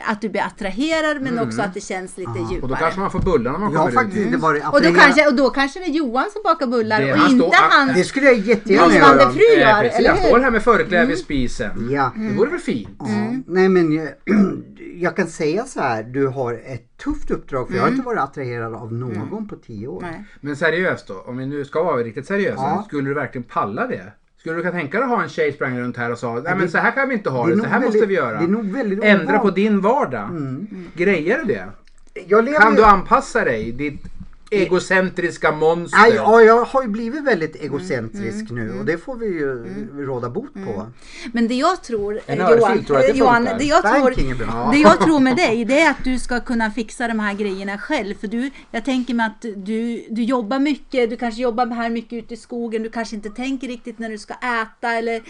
att du blir attraherad men också att det känns lite Mm. Och då djupare. kanske man får bullar när man Jag har kommer faktiskt ut. inte varit Och då, appellerad- kanske, och då kanske det är Johan som bakar bullar Det är och han inte står- han. Det skulle jag jättegärna Blivande göra. fru. fru gör, Eh, precis. eller Jag hur? Mm. står här med förkläde vid spisen. Ja. Det vore väl fint? Ja, Nej men jag, jag kan säga så här, du har ett tufft uppdrag för jag har Mm. inte varit attraherad av någon på tio år. Nej. Men seriöst då, om vi nu ska vara riktigt seriösa, Ja. skulle du verkligen palla det? Skulle du kunna tänka dig att ha en tjej sprang runt här och sa nej men så här kan vi inte ha det är det, så nog här måste väldigt- vi göra. det är nog väldigt Mm. Ändra på ovanligt. din vardag. Grejer du det? Jag lever Kan ju- du anpassa dig, ditt egocentriska monster. Aj, ja, jag har ju blivit väldigt Mm. egocentrisk nu och det får vi ju råda bot på. Mm. Men det jag tror, eh, En örfil Johan, tror jag att det Johan funkar. det, jag Banking är bra. tror, det jag tror med dig, det är att du ska kunna fixa de här grejerna själv. För du, jag tänker mig att du, du jobbar mycket, du kanske jobbar här mycket ute i skogen, du kanske inte tänker riktigt när du ska äta eller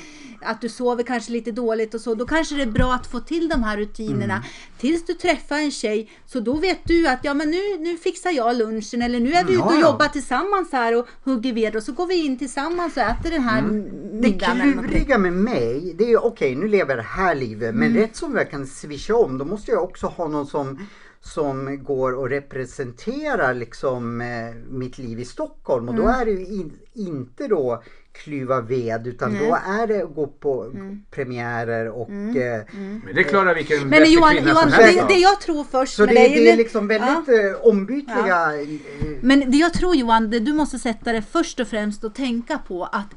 att du sover kanske lite dåligt och så. Då kanske det är bra att få till de här rutinerna Mm. tills du träffar en tjej. Så då vet du att ja, men nu, nu fixar jag lunchen eller nu är vi ute Ja, och ja. jobbar tillsammans här och hugger ved och så går vi in tillsammans och äter den här Mm. Det middagen. eller någonting. kluriga med mig, det är ju okej nu lever jag det här livet men rätt som jag kan swisha om då måste jag också ha någon som, som går och representerar liksom eh, mitt liv i Stockholm och då är det ju in, inte då klyva ved utan då är det att gå på premiärer och eh, Men det klarar vilken Men vettig Johan, kvinna Johan som helst det, av. det jag tror först Så det, med det, dig, är liksom väldigt Ja. eh, ombytliga eh, Men det jag tror Johan, det du måste sätta dig först och främst och tänka på att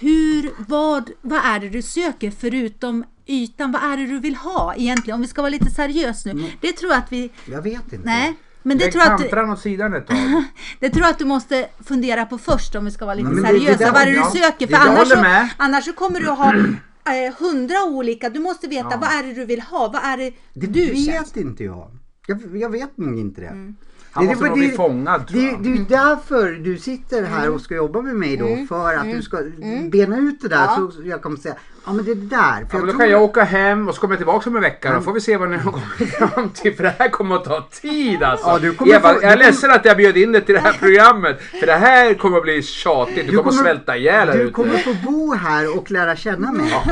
hur, vad, vad är det du söker förutom ytan? Vad är det du vill ha egentligen? Om vi ska vara lite seriös nu. Mm. Det tror jag att vi... Jag vet inte. Nej. Men det Lägg tror, jag att, du- tantran åt sidan ett tag. det tror jag att du måste fundera på först om vi ska vara lite Men det- det seriösa. där- vad är det ja, du söker? det- jag För annars håller så, med. annars så kommer du att ha eh, hundra olika. Du måste veta vad är det du vill ha? Vad är det, Det du Mm. vet känner? inte jag. jag. Jag vet nog inte det. Han måste nog bli fångad, tror det, jag. det är ju därför du sitter Mm. här och ska jobba med mig då. För att du ska bena ut det där. Så jag kommer säga, ja men det är det där. Ja, För men då jag kan tror- jag åka hem och så kommer jag tillbaka om en vecka. Då får vi se vad ni har kommit fram till. För det här kommer att ta tid alltså. Ja, du kommer Eva, få- du jag är kommer- ledsen att jag bjöd in dig till det här programmet. För det här kommer att bli tjatigt. Du, kommer att svälta ihjäl här Du ute. kommer få bo här och lära känna Mm. mig. Ja,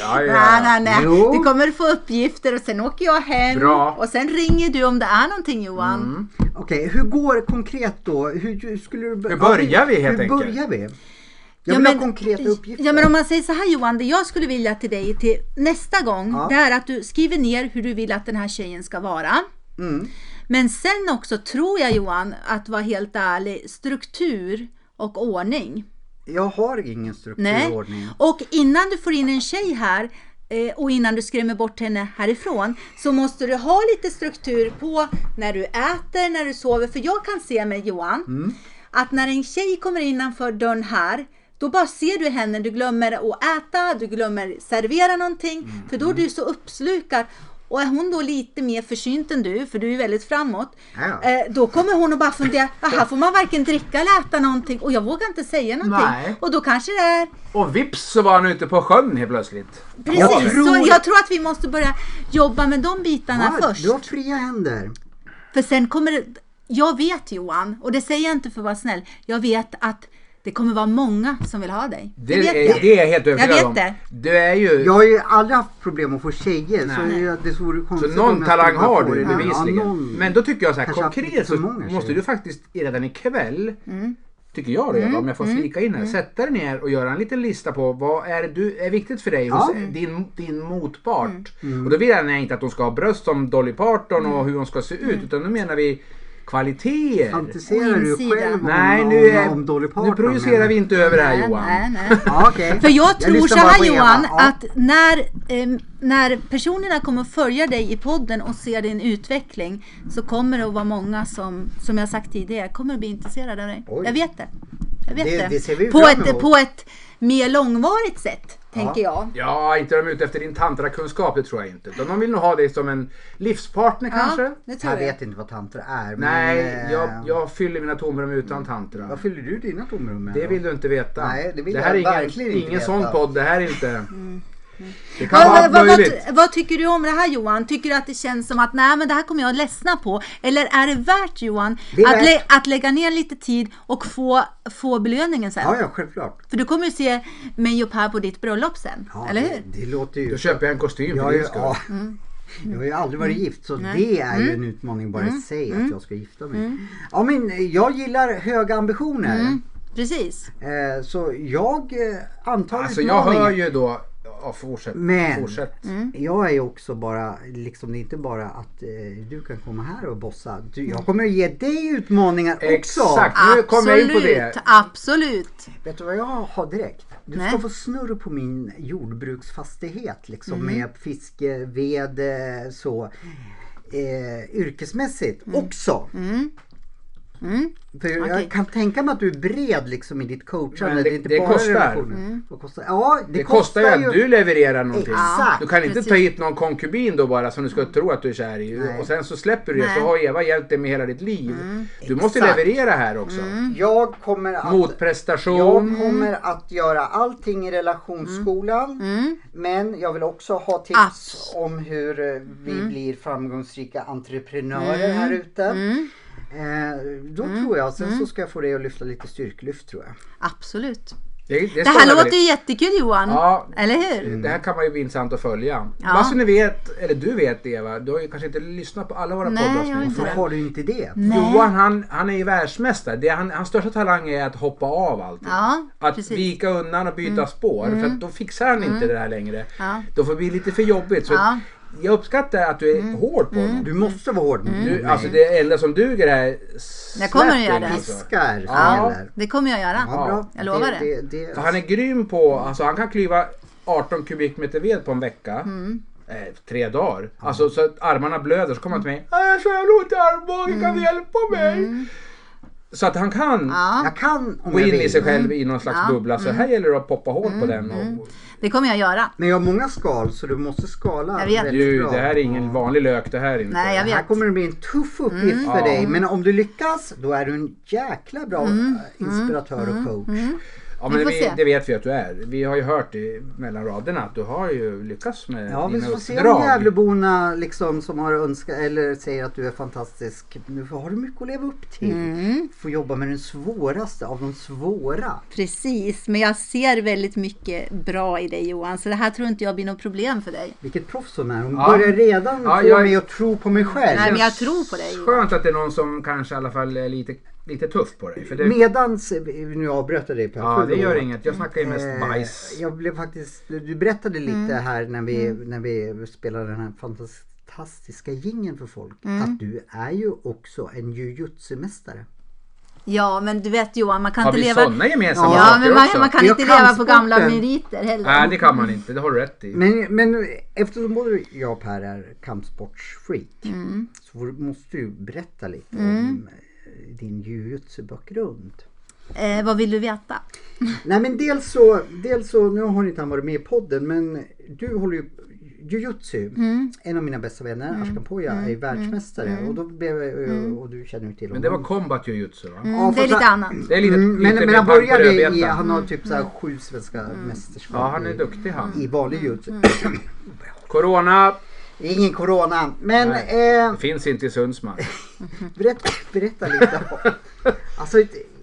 ja, Nej, ja. nej, nej. Jo. Du kommer få uppgifter och sen åker jag hem. Bra. Och sen ringer du om det är någonting Johan. Mm. Okej, hur går det konkret då? Hur, hur skulle du bör- Hur börjar vi, helt Hur enkelt? börjar vi? Jag vill ha konkreta uppgifter. Ja, men om man säger så här Johan, det jag skulle vilja till dig till nästa gång, Ja. det är att du skriver ner hur du vill att den här tjejen ska vara. Mm. Men sen också tror jag Johan, att vara helt ärlig, struktur och ordning. Jag har ingen Nej. strukturordning. Och innan du får in en tjej här eh, och innan du skrämmer bort henne härifrån så måste du ha lite struktur på när du äter, när du sover. För jag kan se mig Johan, att när en tjej kommer innanför dörren här då bara ser du henne, du glömmer att äta, du glömmer servera någonting. För då är du så uppslukad. Och är hon då lite mer försynt än du, för du är väldigt framåt. Ja. Eh, då kommer hon och bara fundera, "Ah, här får man varken dricka eller äta någonting. Och jag vågar inte säga någonting. Nej. Och då kanske det är Och vips så var han ute på sjön helt plötsligt. Precis, Jag tror- så jag tror att vi måste börja jobba med de bitarna Ja, först. du har fria händer. För sen kommer det, jag vet Johan, och det säger jag inte för att vara snäll, jag vet att det kommer vara många som vill ha dig. Det, vet är, jag. det är jag helt övertygad vet om. det. Du är ju... Jag har ju aldrig haft problem att få tjejer så Nej. jag- det vore Så konstigt om någon jag talang skulle har få du det. Ja, bevisligen. någon- Men då tycker jag så här Kanske haft konkret lite för så många måste tjejer. du faktiskt redan ikväll, Mm. tycker jag då Eva, om jag får flika in här, sätta dig ner och göra en liten lista på vad är, det du, är viktigt för dig hos din, din motpart. Mm. Mm. Och då vill jag inte att hon ska ha bröst som Dolly Parton och hur hon ska se Mm. ut utan då menar vi kvaliteter. Fantiserar du Insidan. själv om, Nej, nu, om, är, om Dolly Parton? nu projicerar vi inte över det här Johan. Nej, nej. Ja, okej. För jag tror lyssnar så bara på här Eva. Johan, Ja. att när, eh, när personerna kommer att följa dig i podden och se din utveckling så kommer det att vara många som, som jag sagt tidigare, kommer att bli intresserade av dig. Oj. Jag vet det. Jag vet Det- det. det ser vi på, fram emot. ett, på ett mer långvarigt sätt, tänker jag. Ja, inte är de ute efter din tantrakunskap, det tror jag inte. Utan de vill nog ha dig som en livspartner kanske. Ja, det tror Jag jag. vet inte vad tantra är. Men, Nej, eh, jag, jag fyller mina tomrum utan tantra. Vad fyller du dina tomrum med? Det då? vill du inte veta. Nej, det vill här jag är ingen, verkligen inte ingen veta. sån podd. Det här är inte... Det kan vara Mm, allt Vad, vad, vad, möjligt. vad tycker du om det här Johan? Tycker du att det känns som att nej men det här kommer jag ledsna på? Eller är det värt Johan Det är att, värt. lä- att lägga ner lite tid och få, få belöningen sen? Ja, ja, självklart. För du kommer ju se mig och Per på ditt bröllop sen, Ja, eller det, hur? Mm. det låter Då ju... köper jag en kostym Jag, för har din ju, skull. ja, jag har ju aldrig varit gift så det är ju en utmaning bara Mm. i sig att jag ska gifta mig. Ja, men eh, jag gillar höga ambitioner. Mm. Precis. Eh, så jag eh, antar Alltså jag utmaningen. hör ju då... Ja, fortsätt. Men- Fortsätt. Mm. Jag är ju också bara, liksom det är inte bara att eh, du kan komma här och bossa. Du, jag kommer att ge dig utmaningar också. Exakt, nu kom jag in på det. Absolut, absolut. Vet du vad jag har direkt? Du ska Nej. få snurr på min jordbruksfastighet liksom Mm. med fiske, ved, eh, så. Eh, yrkesmässigt också. Mm. För Okej. Jag kan tänka mig att du är bred liksom i ditt coachande. Men det- det, är inte det bara kostar. relationer. Mm. Vad kostar. Ja, det, Det kostar ju att du levererar någonting. Exakt. Mm. Du kan inte precis. ta hit någon konkubin då bara som du ska tro att du är kär i. Nej. Och sen så släpper du det så Nej. Mm. har Eva hjälpt dig med hela ditt liv. Du måste Exakt. leverera här också. Jag kommer att... Jag Motprestation. kommer att göra allting i Mm. relationsskolan. mm, Men jag vill också ha tips Abs- om hur eh, vi Mm. blir framgångsrika entreprenörer här ute. Mm. Eh, då tror jag, sen så ska jag få dig att lyfta lite styrklyft tror jag. Absolut. Det, det, Det här stannar låter väl ju jättekul Johan. Ja. Eller hur? i- Det här kan man ju bli intressant att följa. Ja. Vad som ni vet, eller du vet Eva, du har ju kanske inte lyssnat på alla våra Nej, jag har poddavsnitt. inte Så det. har du inte det. Johan han, han är ju världsmästare. Det, han, hans största talang är att hoppa av allting. Ja, Att precis. Mm. vika undan och byta spår. För att då fixar han inte det här längre. Ja. Då får det bli lite för jobbigt. Så Ja. Mm. Jag uppskattar att du är hård på honom. Du måste vara hård mot Du, mig. alltså det enda som duger är Jag kommer att göra slapping, det. alltså. Fiskar som Ja. gäller. Det kommer jag göra. Ja, bra. Jag lovar Det, det. det, det, För han är grym på, alltså han kan klyva 18 kubikmeter ved på en vecka. Mm. Eh, tre dagar. Alltså så att armarna blöder. Så kommer han till mig. "Äh, Så jag har ont i armbågen, kan du hjälpa mig? Så att han kan Mm. Ja, Mm. jag kan om gå jag in i vill. sig själv i någon slags bubbla. Så här gäller det att poppa hål på den. Och, det kommer jag göra. Men jag har många skal så du måste skala Jag vet. väldigt du, bra. det här är ingen vanlig lök det här är inte. Nej, jag Det här vet. kommer det bli en tuff uppgift för Mm. Ja. Mm. dig. Men om du lyckas, då är du en jäkla bra eh, inspiratör och coach. Ja, Vi men får vi, se. det vet vi att du är. Vi har ju hört i, mellan raderna att du har ju lyckats med Ja, vi dina får se om uppdrag. Gävleborna liksom som har önskat eller säger att du är fantastisk. Nu har du mycket att leva upp till. Mm. Får jobba med den svåraste av de svåra. Precis, men jag ser väldigt mycket bra i dig Johan, så det här tror inte jag blir något problem för dig. Vilket proffs hon är. Hon Ja. börjar redan Ja, få jag- mig att tro på mig själv. Nej, men jag tror på dig. Johan. Skönt att det är någon som kanske i alla fall är lite, lite tuff på dig. För det, Medans, nu avbröt jag dig Per. ja, det Förlåt. gör inget. Jag snackar ju mest Eh, bajs. Jag blev faktiskt, du berättade lite här när vi, när vi spelade den här fantastiska gingen för folk. Att du är ju också en jujutsu-mästare. Ja, men du vet Johan, man kan Har inte vi leva... sådana gemensamma Ja, saker men man, också? man kan Jag inte kan leva på sporten. gamla meriter heller. Nej, det kan man inte. Det har du rätt i. Men, men eftersom både jag och Per är kampsportsfreak så får- måste du berätta lite om eh, din jujutsu-bakgrund. Eh, vad vill du veta? Nej men dels så, dels så, nu har inte han varit med i podden men du håller ju Jujutsu, en av mina bästa vänner, Ashkan Poya, är världsmästare och då blev jag, och du känner ju till Men honom. det var combat jujutsu va? Ja, Mm, Det är fast lite han- annat. Det är lite, Mm, lite men, men mer han pang på började i, rödbetan. han har typ så här sju svenska mästerskap Ja, han är i- duktig han. i vanlig jujutsu. Corona Det är ingen corona, men eh, det finns inte i Sundsmark. berätta, berätta lite om... Alltså,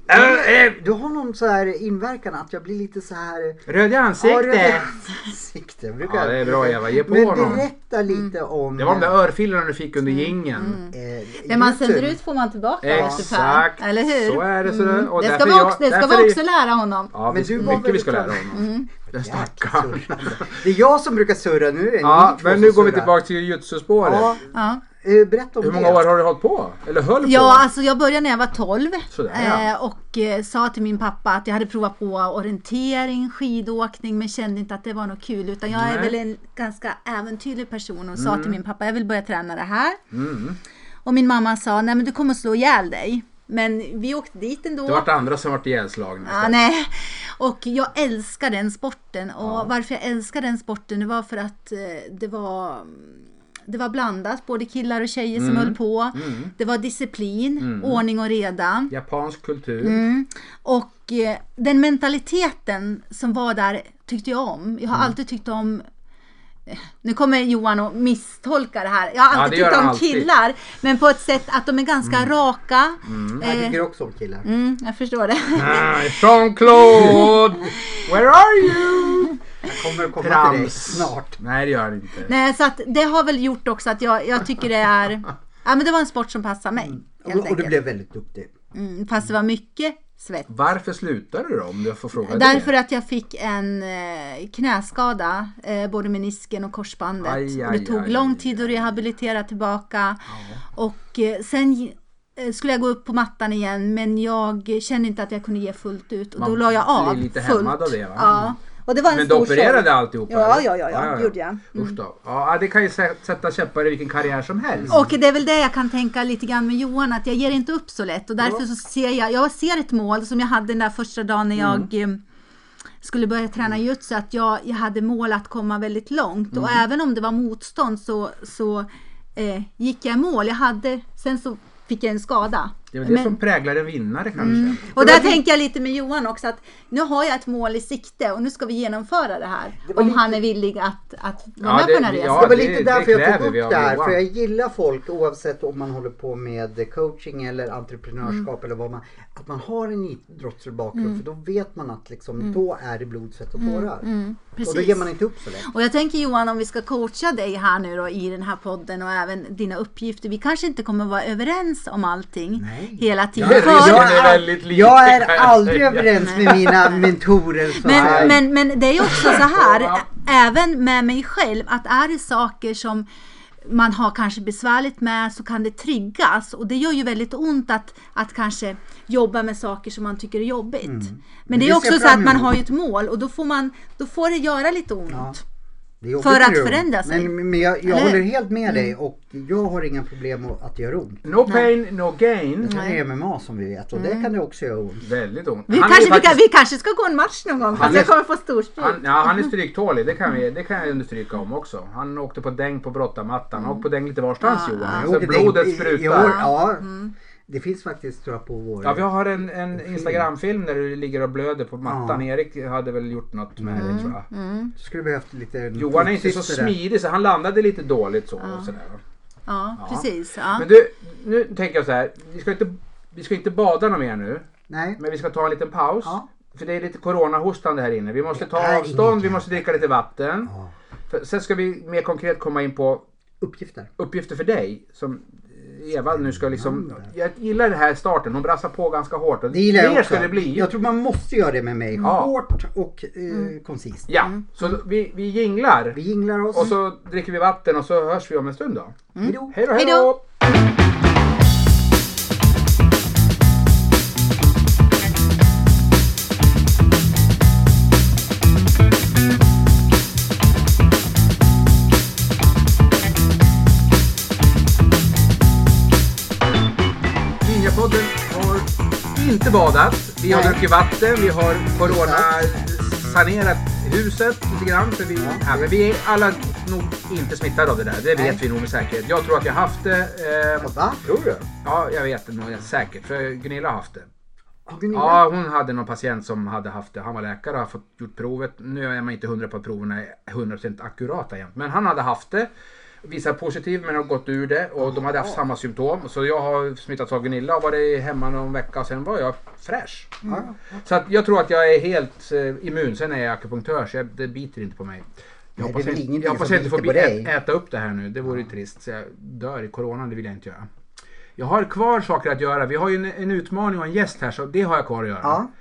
Äh, äh, du har någon så här inverkan att jag blir lite så här... Röd i Ja, ansiktet! det- Sikte, brukar Ja, jag- det är bra, Eva. Ge på Men honom. berätta lite om... Det var de där örfilarna du fick Mm. under jingeln. eh, Det man YouTube. sänder ut får man tillbaka Exakt! ungefär. Eller hur? Mm. Så är det. Så det. Och Det ska därför vi är jag- också, det ska därför är- vi också lära honom. Mm. Ja, Men men du du var Mm. mycket vi väldigt ska lära klar. honom. Den Jäkla stackaren. surrande. Det är jag som brukar surra nu. Är det Ja, ni två men som nu går vi surrar. tillbaka till jujutsu-spåret. Ja, Ja. eh, berätta om Hur många det. år har du hållit på? Eller höll på? Ja, alltså jag började när jag var 12 Sådär, ja. eh, och eh, sa till min pappa att jag hade provat på orientering, skidåkning men kände inte att det var något kul utan jag är Nej. Mm. väl en ganska äventyrlig person och sa till min pappa jag vill börja träna det här. Och min mamma sa nej men du kommer slå ihjäl dig. Men vi åkte dit ändå. Det vart andra som vart ihjälslagna Ja, istället. nej. Och jag älskar den sporten. Och varför jag älskar den sporten det var för att eh, det var det var blandat, både killar och tjejer Mm. som höll på. Det var disciplin, ordning och reda. Japansk kultur. Mm. Och eh, den mentaliteten som var där tyckte jag om. Jag har Mm. alltid tyckt om eh, nu kommer Johan att misstolka det här. Jag har Ja, alltid det gör tyckt han om alltid. Mm. killar, men på ett sätt att de är ganska raka. Jag Eh, tycker också om killar. mm, jag förstår det. Ah, Jean-Claude! Where are you? Kommer att komma till dig Trams. snart. Nej, det gör det inte. Nej, så att det har väl gjort också att jag, jag tycker det är... Ja, men det var en sport som passade mig. Mm. Helt Och, och du enkelt. blev väldigt duktig. Mm, fast det var mycket svett. Varför slutade du då om jag får fråga Därför det? att jag fick en eh, knäskada, eh, både menisken och korsbandet. Aj, och det aj, tog aj, lång aj, tid att rehabilitera tillbaka. Och eh, sen eh, skulle jag gå upp på mattan igen men jag kände inte att jag kunde ge fullt ut och då Man la jag av blir lite fullt. hämmad av det, va? Ja. Och det var en Men du stor sorg. opererade alltihopa? Ja, eller? ja, ja, ja, gjorde jag. Mm. Usch då. Ja, det kan ju sä- sätta käppar i vilken karriär som helst. Och det är väl det jag kan tänka lite grann med Johan, att jag ger inte upp så lätt. Och därför så ser jag, jag ser ett mål som jag hade den där första dagen när jag Mm. eh, skulle börja träna jutsu, att jag, jag hade mål att komma väldigt långt. Och Mm. även om det var motstånd så, så eh, gick jag i mål. Jag hade, sen så fick jag en skada. Det är väl det Men- Mm. som präglar en vinnare kanske. och där tänker jag lite med Johan också att nu har jag ett mål i sikte och nu ska vi genomföra det här. Det var om lite- han är villig att, att vara Ja, med det- på den här ja, resan. det det- var det lite därför jag kräver tog vi upp av det här. Johan. För jag gillar folk oavsett om man håller på med coaching eller Mm. entreprenörskap eller vad man... Att man har en idrottslig bakgrund för då vet man att liksom, Mm. då är det blod, svett och tårar. och då precis. ger man inte upp så lätt. Och jag tänker Johan, om vi ska coacha dig här nu då i den här podden och även dina uppgifter. Vi kanske inte kommer vara överens om allting Nej. hela tiden. Jag är För- redan- är väldigt lite, jag är kan jag aldrig säga. överens med mina mentorer. Så Men, här. men, men det är också så här, ä- även med mig själv, att är det saker som man har kanske besvärligt med så kan det triggas och det gör ju väldigt ont att, att kanske jobba med saker som man tycker är jobbigt. Men det vi är ser också så fram att man emot. har ju ett mål och då får, man, då får det göra lite ont. Ja. Det är jobbigt för när att det gör ont. förändra sig. Men, men jag, jag Eller? håller helt med dig Mm. och jag har inga problem att- att det gör ont. No pain, no gain. Det är MMA som vi vet och Mm. det kan det också göra ont. Väldigt ont. Vi, Han är kanske, ju faktiskt- vi, kan, vi kanske ska gå en match någon gång, Han fast är- jag kommer få storstryk. Han, ja, han är stryktålig, det kan, vi, det kan jag understryka om också. Han åkte på däng på brottarmattan, han åkte på däng lite varstans Johan. Jag Så åker Alltså, blodet dit i- i sprutar. år, Ja, det finns faktiskt tror jag på vår... Ja, vi har en, en Instagramfilm där du ligger och blöder på mattan. Erik hade väl gjort något med det tror jag. Skulle behövt lite... Johan är inte så syster där. smidig så han landade lite dåligt så. Och sådär. Ja, precis. Ja. Men du, nu tänker jag så här. Vi ska, inte, vi ska inte bada något mer nu. Nej. Men vi ska ta en liten paus. Ja. För det är lite coronahostande här inne. Vi måste Det är ta inget. avstånd, vi måste dricka lite vatten. Ja. För, sen ska vi mer konkret komma in på Uppgifter. uppgifter för dig. Som eh, Eva nu ska liksom... Jag gillar den här starten. Hon brassar på ganska hårt. Och Det gillar jag mer också. ska det bli. Jag tror man måste göra det med mig. Ja. Hårt och eh, koncist. Ja, så vi, vi jinglar. Vi jinglar oss. Och så Mm. dricker vi vatten och så hörs vi om en stund då. Hejdå. Hej då, hej Hej då! då. Ninjapodden har inte badat. Vi har Nej. druckit vatten, vi har corona-sanerat huset lite grann. För vi, ja. men vi är alla nog inte smittade av det där. Det vet Nej. vi nog med säkerhet. Jag tror att jag haft det. Eh, Va? Tror du? ja, jag vet det nog säkert. För Gunilla har haft det. Har Gunilla? Ja, hon hade någon patient som hade haft det. Han var läkare och har fått gjort provet. Nu är man inte hundra på att proverna är 100% akurata jämt. Men han hade haft det. Visar positiv men har gått ur det och de hade haft samma symptom. Så jag har smittats av Gunilla och varit hemma någon vecka och sen var jag fräsch. Ja. Så att jag tror att jag är helt eh, immun. Sen är jag akupunktör så jag, det biter inte på mig. Jag Nej, hoppas det är väl jag, ingenting jag, hoppas som jag inte får biter bli på dig. ä, äta upp det här nu. Det vore ju trist. Så jag dör i coronan, det vill jag inte göra. Jag har kvar saker att göra. Vi har ju en, en utmaning och en gäst här så det har jag kvar att göra. ja.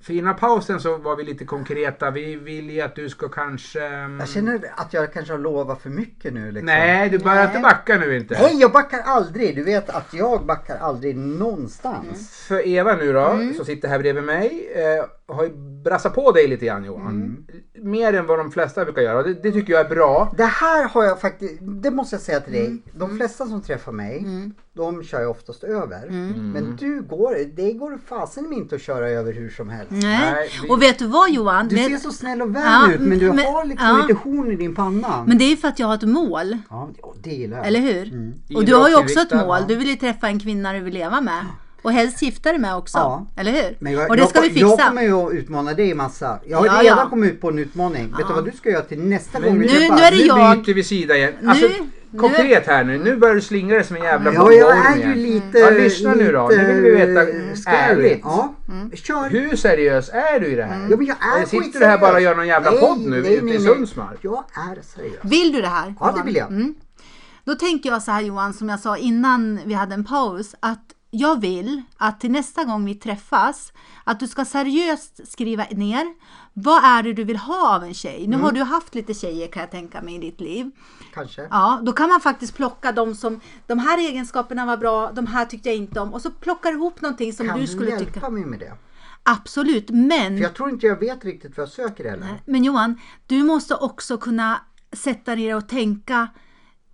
För innan pausen så var vi lite konkreta. Vi vill ju att du ska kanske... ehm, Jag känner att jag kanske har lovat för mycket nu. Liksom. Nej, du börjar Nej. inte backa nu inte. Nej, jag backar aldrig. Du vet att jag backar aldrig någonstans. För Eva nu då, Mm. som sitter här bredvid mig, eh, har ju brassat på dig lite grann Johan. Mm. Mer än vad de flesta brukar göra. Det, det tycker jag är bra. Det här har jag faktiskt, det måste jag säga till dig. Mm. De flesta som träffar mig, de kör jag oftast över. Mm. Mm. Men du går, det går fasen mig inte att köra över hur som helst. Nej. Nej, vi- Och vet du vad Johan? Du vet, ser så snäll och väl Ja, ut men du men- har liksom ja. lite horn i din panna. Men det är ju för att jag har ett mål. ja, det gillar jag. Eller hur? Mm. Och du har ju också ett Idrottsinriktad, mål. ja. Du vill ju träffa en kvinna du vill leva med. Och helst gifta dig med också. Ja. Eller hur? Men jag, och det ska jag, vi fixa. Jag kommer ju att utmana dig massa. Jag har Ja, redan ja. kommit ut på en utmaning. Vet du vad du ska göra till nästa gång vi nu- träffas? nu är det nu jag. byter vi sida igen. Alltså, nu- konkret här nu. Nu börjar du slingra dig som en jävla Ja, jag bomborm är ju igen. lite... Ja, lyssna nu då. Nu vill vi veta lite ärligt. Ja, Mm. kör. Hur seriös är du i det här? Ja, men jag är Eller Eh, sitter du här skitseriös. bara och gör någon jävla Nej, podd nu nej, ute nej, i nej. Sundsmark? Jag är seriös. Vill du det här? Ja, det Johan? vill jag. Då tänker jag så här Johan, som jag sa innan vi hade en paus, att jag vill att till nästa gång vi träffas, att du ska seriöst skriva ner vad är det du vill ha av en tjej? Nu Mm. har du haft lite tjejer kan jag tänka mig i ditt liv. Kanske. Ja, då kan man faktiskt plocka de som, de här egenskaperna var bra, de här tyckte jag inte om och så plockar du ihop någonting som Kan du du skulle hjälpa tycka. mig med det? Absolut, men För jag tror inte jag vet riktigt vad jag söker heller. Men Johan, du måste också kunna sätta dig ner och tänka.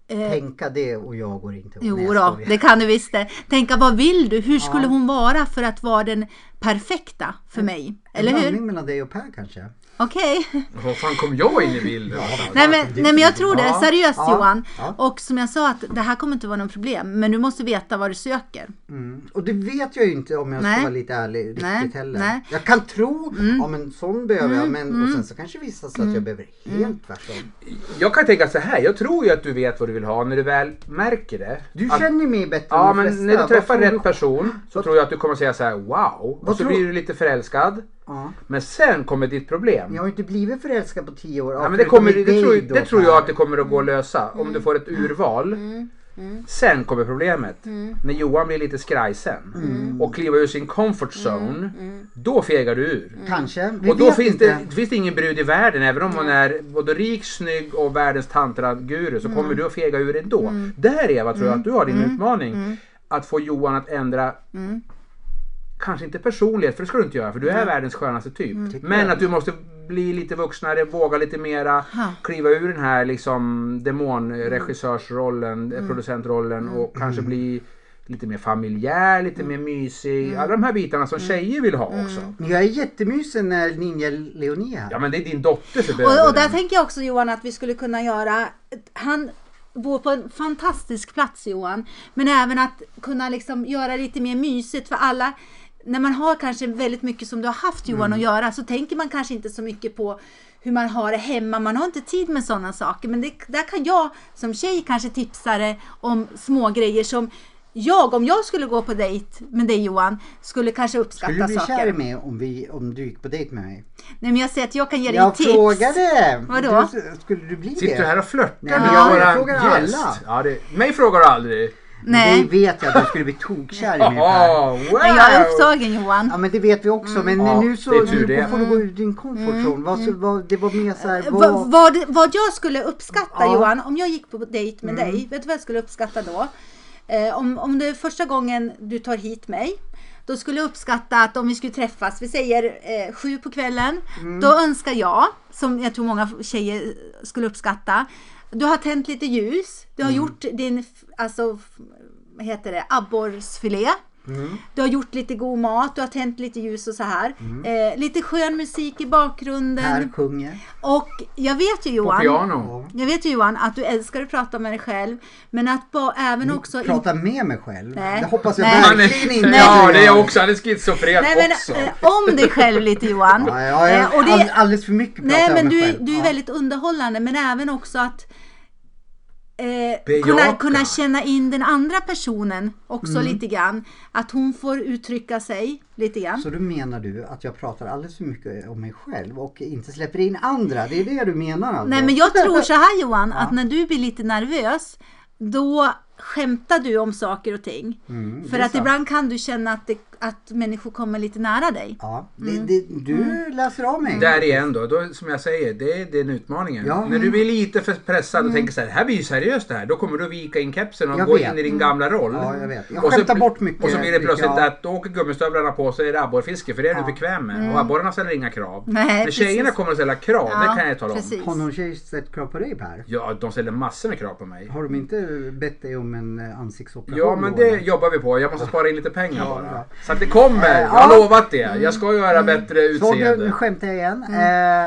Tänka det och jag går inte ihop. eh. Jo Nej, jag då, skojar. det kan du visst det. Tänka vad vill du? Hur skulle hon vara för att vara den perfekta för mig? Eller en hur? blandning mellan dig och Per kanske? Okej. Vad fan kom jag in i bilden? Nej men, nej men jag tror det, Ja, seriöst ja, Johan. ja. Och som jag sa att det här kommer inte vara något problem. Men du måste veta vad du söker. Mm. Och det vet jag ju inte om jag Nej. ska vara lite ärlig riktigt Nej, heller. nej. Mm. Jag kan tro, ja men sån behöver jag. Men, Och sen så kanske vissa så att jag behöver Mm. helt tvärtom. Jag kan tänka så här, jag tror ju att du vet vad du vill ha när du väl märker det. Du Att- känner mig bättre Ja, än de men flesta. när du Vad träffar tror rätt person så tror jag att du kommer säga så här wow. Och så tror- blir du lite förälskad. Ja. Men sen kommer ditt problem. Jag har ju inte blivit förälskad på tio år. Ja, men det, förutom kommer, i det, dig tror, då, det tror Per. Mm. jag att det kommer att gå att lösa. Om du får ett urval. Sen kommer problemet. Mm. När Johan blir lite skrajsen och kliver ur sin comfort Mm. zone. Då fegar du ur. Mm. Kanske. Vi och då vet finns inte. det, finns det ingen brud i världen, även om hon är både rik, snygg och världens tantraguru så Mm. kommer du att fega ur ändå. Där Eva tror jag att du har din utmaning. Mm. Att få Johan att ändra, kanske inte personlighet, för det ska du inte göra för du är världens skönaste typ. Mm. Men att du måste bli lite vuxnare, våga lite mera, kliva ur den här liksom demonregissörsrollen, Mm. eh, producentrollen och kanske bli lite mer familjär, lite Mm. mer mysig. Alla de här bitarna som tjejer vill ha också. Men Jag är jättemysig när Ninja Leonie är här. Ja men det är din dotter som Och, behöver och där den. Mm. tänker jag också Johan att vi skulle kunna göra, han bor på en fantastisk plats Johan, men även att kunna liksom göra lite mer mysigt för alla. När man har kanske väldigt mycket som du har haft Johan Mm. att göra så tänker man kanske inte så mycket på hur man har det hemma. Man har inte tid med sådana saker. Men det, där kan jag som tjej kanske tipsa dig om små grejer som jag, om jag skulle gå på dejt med dig Johan, skulle kanske uppskatta Skulle du bli saker. kär i mig om, vi, om du gick på dejt med mig? Nej men jag säger att jag kan ge dig Jag tips. frågade! Vadå? Du, skulle du bli Sitter det? du här och flörtar Nej, med jag våran frågar gäst? alla. Ja, det, mig frågar du aldrig. Nej. Det vet jag att du skulle bli tokkär i mig Per. Jaha, wow! Nej, jag är upptagen Johan. Ja men det vet vi också Mm. men Ja, nu så det är tur nu det. får du gå ur din comfort zone. Vad, så- vad, det var mer såhär, Va- vad... Mm. Eh, vad, vad jag skulle uppskatta Ja. Johan, om jag gick på dejt med dig, vet du vad jag skulle uppskatta då? Eh, om, om det är första gången du tar hit mig, då skulle jag uppskatta att om vi skulle träffas, vi säger eh, sju på kvällen, då önskar jag, som jag tror många tjejer skulle uppskatta, du har tänt lite ljus, du har gjort din, f- alltså, f- vad heter det, abborrsfilé. Du har gjort lite god mat, du har tänt lite ljus och så här. Eh, lite skön musik i bakgrunden. Per sjunger. Och jag vet ju På Johan, piano. jag vet ju Johan att du älskar att prata med dig själv. Men att bara, även också... Mm, Prata med mig själv. Nej. Det hoppas jag Nej. Han verkligen är, inte. ja, du det är gör. jag också. Han är schizofren nej men också. eh, om dig själv lite Johan. Ja, jag är Eh, och all, det, alldeles för mycket pratar nej jag men med du, själv. du är Ja. väldigt underhållande men även också att eh, Bejaka. kunna, kunna känna in den andra personen också Mm. lite grann. Att hon får uttrycka sig lite grann. Så då menar du att jag pratar alldeles för mycket om mig själv och inte släpper in andra? Det är det du menar alltså? Nej men jag tror så här Johan, att när du blir lite nervös då skämtar du om saker och ting. Mm, För att ibland kan du känna att, det, att människor kommer lite nära dig. Ja, det, Mm. det, du läser av mig. Där igen då, då, som jag säger, det är den utmaningen. Ja. När du blir lite för pressad och tänker så här, det här blir ju seriöst det här. Då kommer du att vika in kepsen och Jag gå vet. in i din gamla roll. Ja, jag vet. Jag Och så- skämtar bort mycket, Och så blir det tycker plötsligt jag. att då åker gummistövlarna på sig är det abborrfiske, för det är du bekväm med. Och abborrarna ställer inga krav. Nej, Men tjejerna precis. kommer att ställa krav, Ja, det kan jag tala om. precis. Har någon tjej ställt krav på dig Per? Ja, de ställer massor med krav på mig. Har de inte bett dig om en eh, ansiktsoperation? Ja men då, det eller? jobbar vi på. Jag måste spara in lite pengar bara. ja. Så att det kommer. Jag har lovat det. Jag ska Mm. göra bättre Så nu, nu utseende. skämtar jag igen. Eh,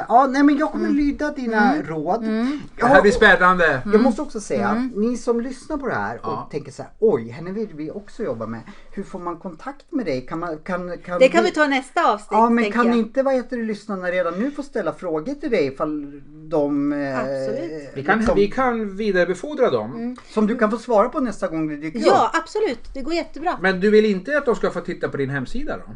ja, nej men jag kommer Mm. lyda dina råd. Det Jag, här blir spännande. jag måste också säga, Mm. ni som lyssnar på det här och Ja. tänker så här, oj, henne vill vi också jobba med. Hur får man kontakt med dig? Kan man, kan, kan Det kan vi ta i nästa avsnitt. Ja, men tänker kan jag. inte vad heter det, lyssnarna redan nu få ställa frågor till dig ifall de... eh, Absolut. Vi kan, liksom- vi kan vidarebefordra Mm. dem. Som du kan få svara på nästa gång du dyker Ja, upp. absolut. Det går jättebra. Men du vill inte att de ska få titta på din hemsida då?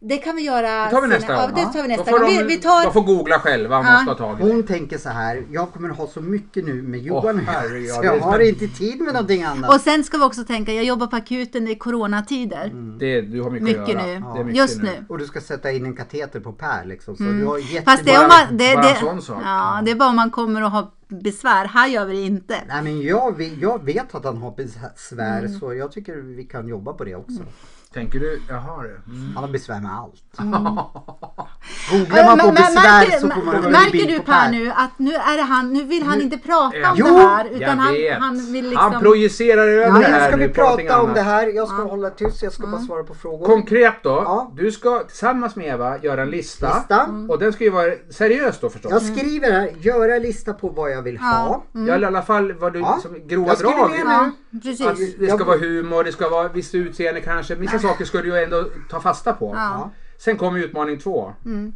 Det kan vi göra. Det tar vi nästa ja, gång. det tar Då vi nästa får gång. de- Vi, vi tar... De får googla själva om Ja. de ska ha tag i det. Hon tänker så här, jag kommer ha så mycket nu med Johan Åh, här, herregud, så det jag är har spänn- inte tid med någonting annat. Och sen ska vi också tänka, jag jobbar på akuten, det är coronatider. Mm, det. Du har mycket, att Mycket göra. nu. Det är mycket Just nu. Och du ska sätta in en kateter på Per liksom. Så du har jättebra... Mm. Fast det är om Bara- man... Det, bara det, en sån sak. ja, det är bara om man kommer och har besvär. Här gör vi det inte. Mm. Nej men jag vet, jag vet att han har besvär så jag tycker vi kan jobba på det också. Tänker du, jaha du. Mm. Han har besvär med allt. Men- Googlar man på Mm. men- men- besvär så får man märker, en märker bild du på Per Per. nu att nu, är det han, nu vill han inte prata om Jo, det här jag utan han, vet. han vill liksom... Han projicerar över Ja, det nu här. ska vi nu, någonting prata om annat. det här. Jag ska hålla tyst, jag ska bara svara på frågor. Konkret då. Ja. Du ska tillsammans med Eva göra en lista. Lista. Och den ska ju vara seriös då förstås. Jag skriver här, göra lista på vad jag vill ha. Jag har i alla fall vad du, Ja. som grova Jag skriver drag. ner ja, Att precis. det ska Jag- vara humor, det ska vara visst utseende kanske. Vissa saker skulle du ju ändå ta fasta på. Ja. Sen kommer utmaning två. Mm.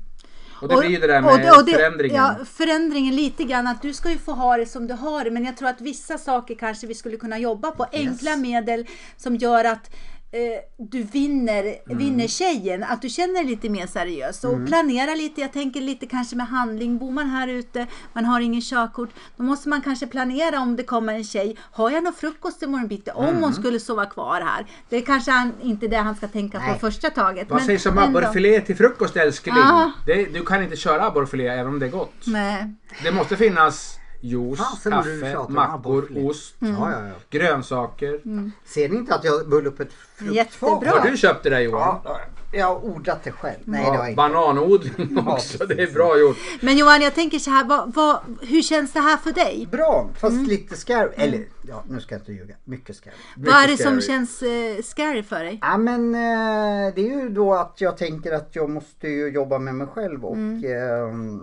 Och det blir ju det där med och det- förändringen. Ja, förändringen lite grann. Att du ska ju få ha det som du har det. Men jag tror att vissa saker kanske vi skulle kunna jobba på. Enkla medel som gör att eh, du vinner, vinner tjejen. Att du känner dig lite mer seriös. Och planera lite. Jag tänker lite kanske med handling. Bor man här ute, man har ingen körkort. Då måste man kanske planera om det kommer en tjej. Har jag någon frukost imorgon bitti? Om hon skulle sova kvar här. Det är kanske han, inte det han ska tänka Nej. på första taget. Vad men sägs om ändå. abborrfilé till frukost älskling? Ah. Ja. Det, du kan inte köra abborrfilé även om det är gott. Nej. Det måste finnas juice, Fasen vad du kaffe, tjatar om mackor, abborrfilé. Mm. ost, Ja, ja, ja. grönsaker. Ser ni inte att jag bull upp ett fruktfat? Jättebra. Har du köpt det där Johan? Ja, jag har odlat det själv. Nej, det har jag inte. Bananodling också, det är bra gjort. Men Johan, jag tänker så här, vad, vad, hur känns det här för dig? Bra, fast lite skarv. Eller, ja, nu ska jag inte ljuga. Mycket skarv. Vad är det som scary. känns eh, scary för dig? Ja, men eh, det är ju då att jag tänker att jag måste ju jobba med mig själv och... ehm,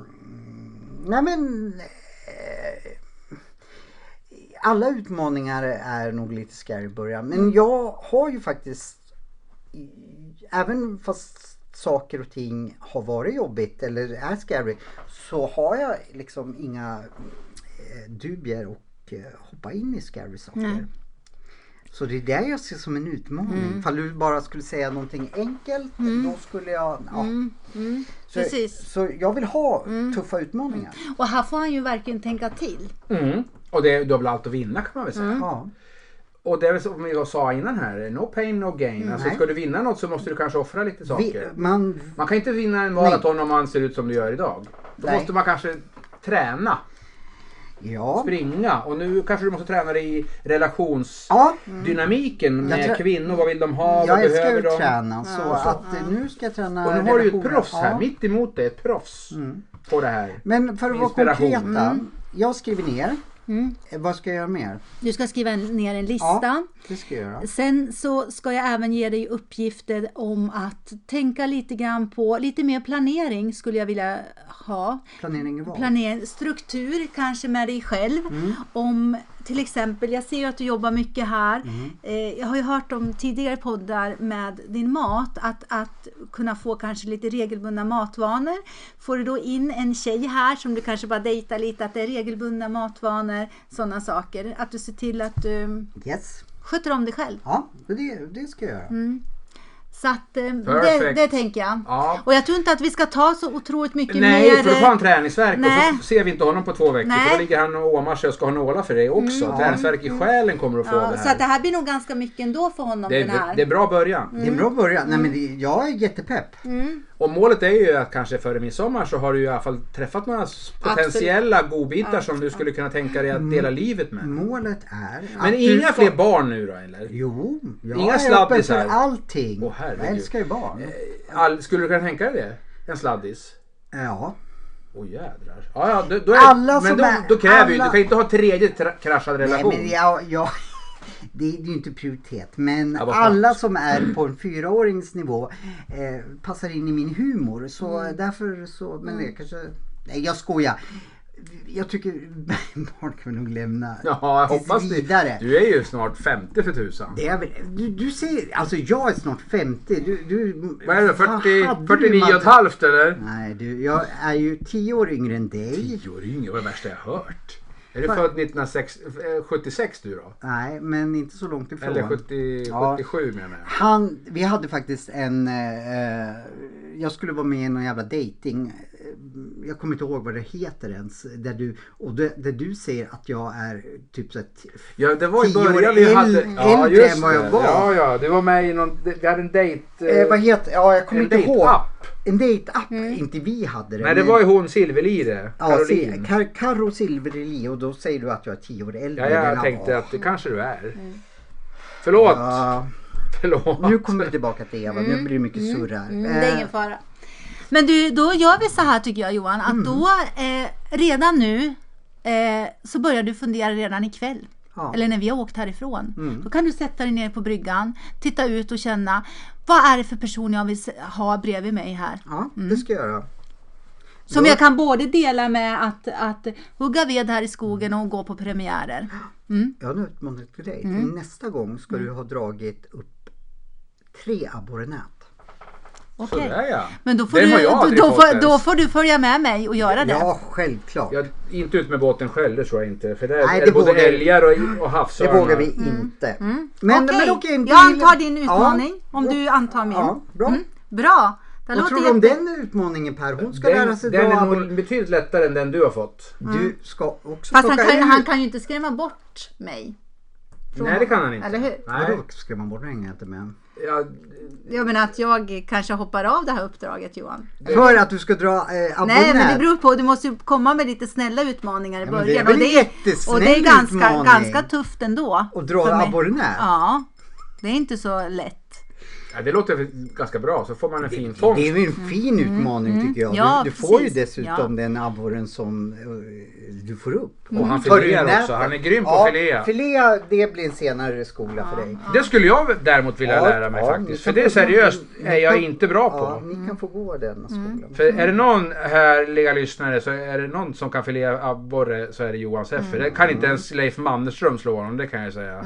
nej, men... eh, alla utmaningar är nog lite scary i början. Men jag har ju faktiskt även fast saker och ting har varit jobbigt eller är scary så har jag liksom inga eh, dubier och eh, hoppa in i scary saker. Så det är det jag ser som en utmaning. Ifall du bara skulle säga någonting enkelt då skulle jag... Ja. Så, precis. Mm. så jag vill ha tuffa utmaningar. Och här får han ju verkligen tänka till. Mm. Och det, du har väl allt att vinna kan man väl säga. Ja. Och det är väl som jag sa innan här, no pain no gain. Alltså Mm, Nej. ska du vinna något så måste du kanske offra lite Vi, saker. man, Man kan inte vinna en maraton om man ser ut som du gör idag. Då Nej. måste man kanske träna, ja. springa. Och nu kanske du måste träna dig i relations... ja. dynamiken med Mm. tror- kvinnor. Vad vill de ha? Jag vad älskar behöver ju de? att träna så att eh, nu ska jag träna Och nu har du ju ett relationer. Mm. proffs här. Ja. Mitt emot dig, ett proffs på det här. Men för att vara Inspiration. konkreta. Jag skriver ner. Eh, Vad ska jag göra mer? Du ska skriva en- ner en lista. Ja, det ska jag göra. Sen så ska jag även ge dig uppgifter om att tänka lite grann på, lite mer planering skulle jag vilja ha. Planering i vad? Planering, struktur kanske med dig själv. Mm. Om till exempel, jag ser ju att du jobbar mycket här. Mm. Eh, jag har ju hört om tidigare poddar med din mat, att, att kunna få kanske lite regelbundna matvanor. Får du då in en tjej här som du kanske bara dejtar lite, att det är regelbundna matvanor, sådana saker. Att du ser till att du Yes. sköter om dig själv. Ja, det, det ska jag göra. Så att eh, det, Perfect. det tänker jag. Ja. Och jag tror inte att vi ska ta så otroligt mycket mer. eh, Nej, för då får han träningsvärk Nej. och så ser vi inte honom på två veckor. Nej. Mm. För då ligger han och åmar sig och ska ha nålar för det också. Träningsvärk i själen kommer du få av eh, Ja, det så att det här. här blir nog ganska mycket ändå för honom Det den är, här. Mm. det är bra början. Det är en bra början. Nej, men det, Mm. jag är jättepepp. Och målet är ju att kanske före midsommar så har du i alla fall träffat några s- potentiella godbitar som du skulle kunna tänka dig att dela livet med. Målet är att Mm. Men Mm. du inga ska- fler barn nu då eller? Jo, jag Inga är öppen för slabbisar. allting. Åh, herregud. Eh, jag älskar ju barn. All, skulle du kunna tänka dig det? En sladdis? Ja. Åh jädrar. Ja, ja, då, då är, Alla men som då, är- då kräver ju, alla- du kan ju inte ha tredje tra- kraschad Nej, relation. men jag, jag, det är ju inte prioritet. Men Ja, vad skönt. alla som är på en fyraårings nivå eh, passar in i min humor. Så Mm. därför så, men jag kanske, nej jag skojar. Jag tycker barn kan vi nog lämna Ja, jag hoppas tills det. vidare. Du är ju snart 50 för tusan. Det är väl, du, du säger, alltså jag är snart 50. Du, du, Vad är det? fan, hade 40, du 49 och ett matte- halvt eller? Nej du, jag är ju 10 år yngre än dig. Tio år yngre, vad är det värsta jag har hört? Är du född 1976 du då? Nej, men inte så långt ifrån. Eller 70, Ja. 77 menar jag. Han, vi hade faktiskt en, eh, eh, jag skulle vara med i någon jävla dating. eh, Jag kommer inte ihåg vad det heter ens. Där du, och det, där du säger att jag är typ så här t- Ja, det var i Tio år början vi äl- hade... Ja, äldre just än vad jag det. var. Ja, ja, du var med i någon... Vi hade en dejt... eh, vad heter, ja jag kommer en inte ihåg. dejtapp. En dejtapp. Mm. Inte vi hade det. Nej, det men- var ju hon Silverlire. Ja, Caroline. Kar, Karo Silverli och då säger du att jag är tio år äldre. Ja, än jag han tänkte var. att det kanske du är. Förlåt! Mm. Ja, Förlåt. Nu kommer vi tillbaka till Eva, nu blir det mycket surr här. Eh, Mm, det är ingen fara. Men du, då gör vi så här tycker jag Johan, Mm. att då eh, redan nu eh, så börjar du fundera redan ikväll. Ja. Mm. Eller när vi har åkt härifrån. Då kan du sätta dig ner på bryggan, titta ut och känna vad är det för person jag vill se- ha bredvid mig här. Ja, det ska jag göra. Som Ja. jag kan både dela med att, att hugga ved här i skogen och gå på premiärer. Mm. Jag har en utmaning till dig. Till nästa gång ska du ha dragit upp tre abborrenät. Okej. Sådär ja. Men då får, Den du, har jag då, aldrig då, fått får, ens. då får du följa med mig och göra det. Ja, självklart. Jag, inte ut med båten själv, det tror jag inte. För där Nej, är det det både vågar- älgar och, och Det havsörnar. vågar vi inte. Men, Mm. okej, men okej, jag vill- antar din utmaning Ja. om du antar min. Ja, bra. Bra! Det Vad låter tror du om jätte- den utmaningen Per? Hon ska lära Den, sig den dra är abborre. nog betydligt lättare än den du har fått. Du ska också Mm. Fast han plocka kan, ut- han kan ju inte skrämma bort mig. Nej, det kan han inte. Eller hur? Nej. Vadå skrämma bort? Det hänger jag inte med. Ja, Jag menar att jag kanske hoppar av det här uppdraget Johan. För att du ska dra eh, Nej, men det abborrenät. beror på. Du måste ju komma med lite snälla utmaningar i men det är början. väl och, en det är, jättesnäll och det är ganska, utmaning. ganska tufft ändå. Och dra för mig. abborrenät. Ja, det är inte så lätt. ja, det låter ganska bra. Så får man en fin fångst. Det är ju en fin utmaning tycker jag. Mm. Ja, du, du får ju precis. dessutom Ja. Mm. den abborren som eh, du får upp. Och han Tar du filear nätet? också. Han är grym på ja, filea. Filea, det blir en senare skola för dig. Det skulle jag däremot vilja Ja, lära mig ja, ni faktiskt. För kan det är få- seriöst ni är jag kan- inte bra på. Ja, ni kan få gå Mm. den skolan. Mm. För är det någon härliga lyssnare så är det någon som kan filea abborre så är det Johan Seffer. Det kan inte ens Leif Mannerström slå honom, det kan jag säga.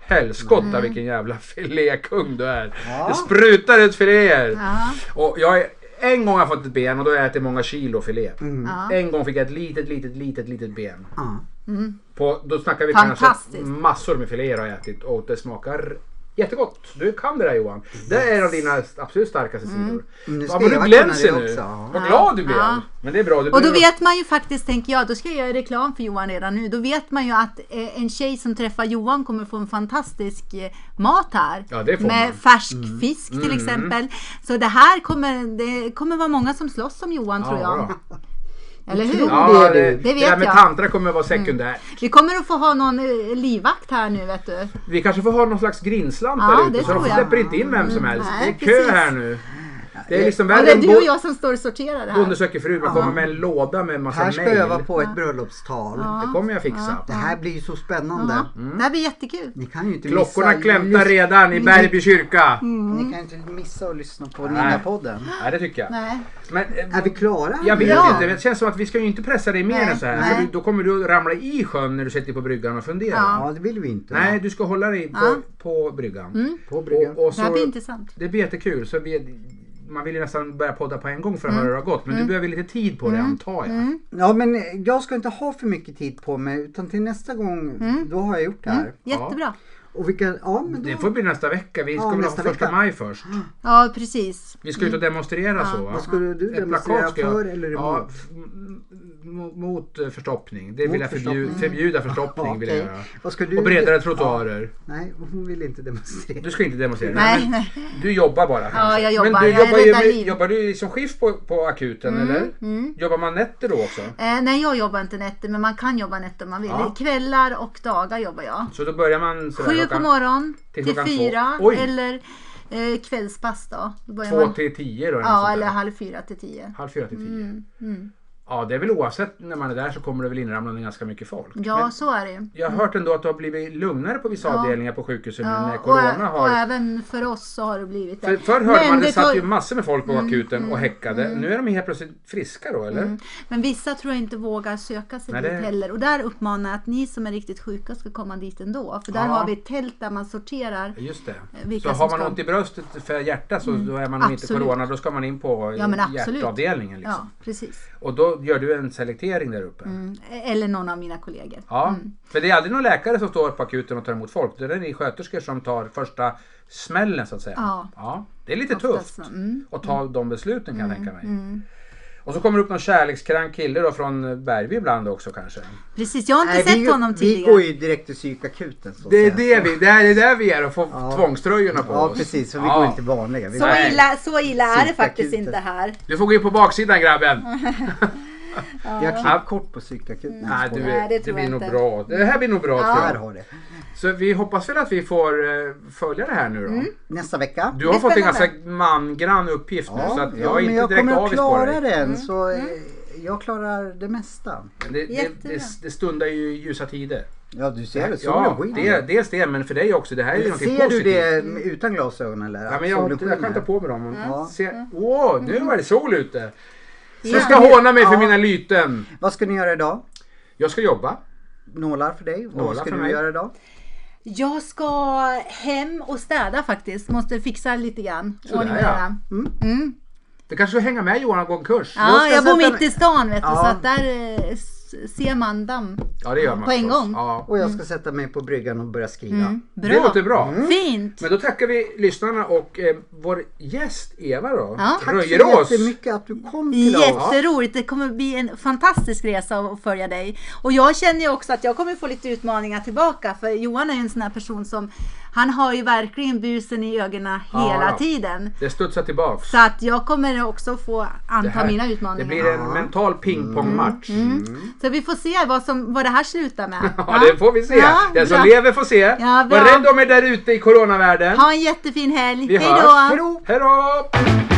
Helskotta vilken jävla filékung du är. Det sprutar ut filéer. Och jag är, en gång har jag fått ett ben och då har jag ätit många kilo filé. En gång fick jag ett litet, litet, litet, litet ben. Ja. På, då snackar vi kanske Fantastiskt. massor med filéer har jag ätit och det smakar jättegott. Du kan det där Johan. Det är en av dina absolut starkaste sidor. Mm, Nu Ja, ska men du jag glänser kunna det nu. också, ja. Vad glad du blev. Mm. Ja. Men det är bra. Du Och då behöver- vet man ju faktiskt, tänker jag, då ska jag göra reklam för Johan redan nu. Då vet man ju att eh, en tjej som träffar Johan kommer få en fantastisk eh, mat här. Ja, det får Med man. Mm. färsk fisk till exempel. Så det här kommer, det kommer vara många som slåss om Johan tror jag. bra. Eller hur? Ja, Det det, är det, du. Det vet där med jag. Mm. tantra kommer att vara sekundärt. Vi kommer att få ha någon eh, livvakt här nu vet du. Vi kanske får ha någon slags grinslant Ja, där ute det så de tror jag. Mm, släpper inte in vem som helst. nej, det är kö precis. här nu. Det är liksom Ja, det värre är än du och bo- jag som står och sorterar här. undersöker frugan kommer med en låda med en massa Här ska mejl. jag öva på ett bröllopstal. Det kommer jag fixa. Det här blir ju så spännande. Mm. Det här blir jättegul. Ni kan ju inte Klockorna missa... klämtar redan Mm. i Bergby kyrka. Ni kan ju inte missa att lyssna på Nej. Ninja-podden. Ja, det tycker jag. Nej. Men, eh, Är vi klara? jag vet Ja. inte, men det känns som att vi ska ju inte pressa dig mer Nej, än så här. nej. För du, då kommer du ramla i sjön när du sitter på bryggan och funderar. Ja, det vill vi inte. Nej, du ska hålla dig på, på bryggan. På bryggan. Och, och Det här blir så, intressant. det blir jättekul. Så vi, man vill ju nästan börja podda på en gång för att Mm. höra hur det har gått. Men du behöver lite tid på det antar jag. Ja, men eh, jag ska inte ha för mycket tid på mig utan till nästa gång, Mm. då har jag gjort det här. Jättebra. Och vilka, ja men då, Det får bli nästa vecka. Vi ska Ja, väl ha nästa första vecka. Mm. maj först. Ja, precis. Vi ska ut och demonstrera så. Va? Vad skulle du Ett demonstrera plakat ska jag- för eller Ja, emot? f- m- m- mot eh, förstoppning. Det Mot vill jag förbjuda, förstoppning. förbjuda förstoppning. Vill jag Mm. Okej. göra. Vad ska du Och bredare trottoarer. Nej, hon vill inte demonstrera. Du ska inte demonstrera. Nej, men nej. Du jobbar bara kanske. jag jobbar. Men du Jag jobbar, ju räddar med, liv. Mm, jobbar du som skift på, på akuten eller? Jobbar man nätter då också? Eh, nej, jag jobbar inte nätter, men man kan jobba nätter om man vill. Ja. Kvällar och dagar jobbar jag. Så då börjar man sådär Sju på klockan morgon till, till klockan två. fyra Oj. eller eh, kvällspass då. då börjar två man, till tio då? något sånt ja, där. eller halv Mm, fyra till tio. Halv fyra till tio? Ja, det är väl oavsett när man är där så kommer det väl inramlande ganska mycket folk. Ja, Men så är det ju. jag har hört ändå att det har blivit lugnare på vissa Mm. Ja. avdelningar på sjukhusen nu när Ja, och, corona ä- och har... även för oss så har det blivit det. För, förr hörde Men man det det satt tar- Mm, ju massor med folk på akuten och häckade. Nu är de ju helt plötsligt friska då eller? Men vissa tror jag inte vågar söka sig Nej, dit det- heller. Och där uppmanar jag att ni som är riktigt sjuka ska komma dit ändå. För där Ja. har vi ett tält där man sorterar. Just det. Vilka så som har man ska- Mm. ont i bröstet för hjärtat så då är man nog inte Absolut. corona. Då ska man in på Ja, men absolut. hjärtavdelningen. Liksom. Ja, precis. Och då gör du en selektering där uppe. Mm. Eller någon av mina kollegor. Ja, för det är aldrig någon läkare som står på akuten och tar emot folk. Det är ni sköterskor som tar första smällen så att säga. Ja. det är lite Oftast, tufft mm, att ta de besluten kan jag tänka mig. Och så kommer det upp någon kärlekskrank kille då från Bergby ibland också kanske. Precis, jag har inte Nej, sett vi, honom vi tidigare. går ju direkt till psykakuten så att Det är, säga. det vi, det är det där vi är och får tvångströjorna på Ja oss. precis, så vi Ja. går inte vanliga. Vi Så Nej. illa, så illa är det Superakuten. faktiskt inte här. Du får gå in på baksidan grabben. Jag klippte kort på psykakuten. Nej, du, Nej, det det, tror blir jag nog inte. bra. Det här blir nog bra Ja. tror Där jag. har det. Så vi hoppas väl att vi får eh, följa det här nu då. Mm. Nästa vecka. Du har Det är fått en ganska spännande. mangrann uppgift nu så att jag är men jag inte direkt kommer att avis på dig. klara den. Mm. Så eh, jag klarar det mesta. Det, det, Jättebra. det, det stundar ju ljusa tider. Ja, du ser det. Ja, Solen det, skiner. dels det, men för dig också. Det här är ju någonting Ser du positivt. det utan glasögon eller? Ja, Att men jag, har solen inte- jag kan skiner? Mm. ta på mig dem. men Ja. Mm. Se, åh, nu var det sol ute! Du Ja. ska håna mig för Ja. mina lyten. Vad ska ni göra idag? Jag ska jobba. Nålar för dig. Nålar Vad ska för du mig. göra idag? Jag ska hem och städa faktiskt. Måste fixa lite grann. Sådär, Ordning och ja. reda. Mm. Du kanske ska hänga med Johan och gå en kurs? Ja, ska jag, bor sätta mitt i stan vet du, Ja. så att där eh, s- ser man damm. Ja, det gör man På en förstås. gång. Ja. Och jag ska sätta mig på bryggan och börja skriva. Mm. Bra. Mm. Det låter bra. Fint! Men då tackar vi lyssnarna och eh, vår gäst Eva då, Ja. Tack så Tack så Röjerås. jättemycket att du kom till oss. Jätteroligt! Det kommer bli en fantastisk resa att följa dig. Och jag känner ju också att jag kommer få lite utmaningar tillbaka för Johan är ju en sån här person som han har ju verkligen busen i ögonen Ja, hela ja. tiden. Det studsar tillbaks. Så att jag kommer också få anta mina det utmaningar. blir en mental pingpongmatch. Så vi får se vad, som, vad det här slutar med. Ja, det får vi se. Ja, Den som bra. lever får se. Var bra. rädd om er där ute i coronavärlden. Ha en jättefin helg. Vi Hej då! hörs. Hej då! Hej då!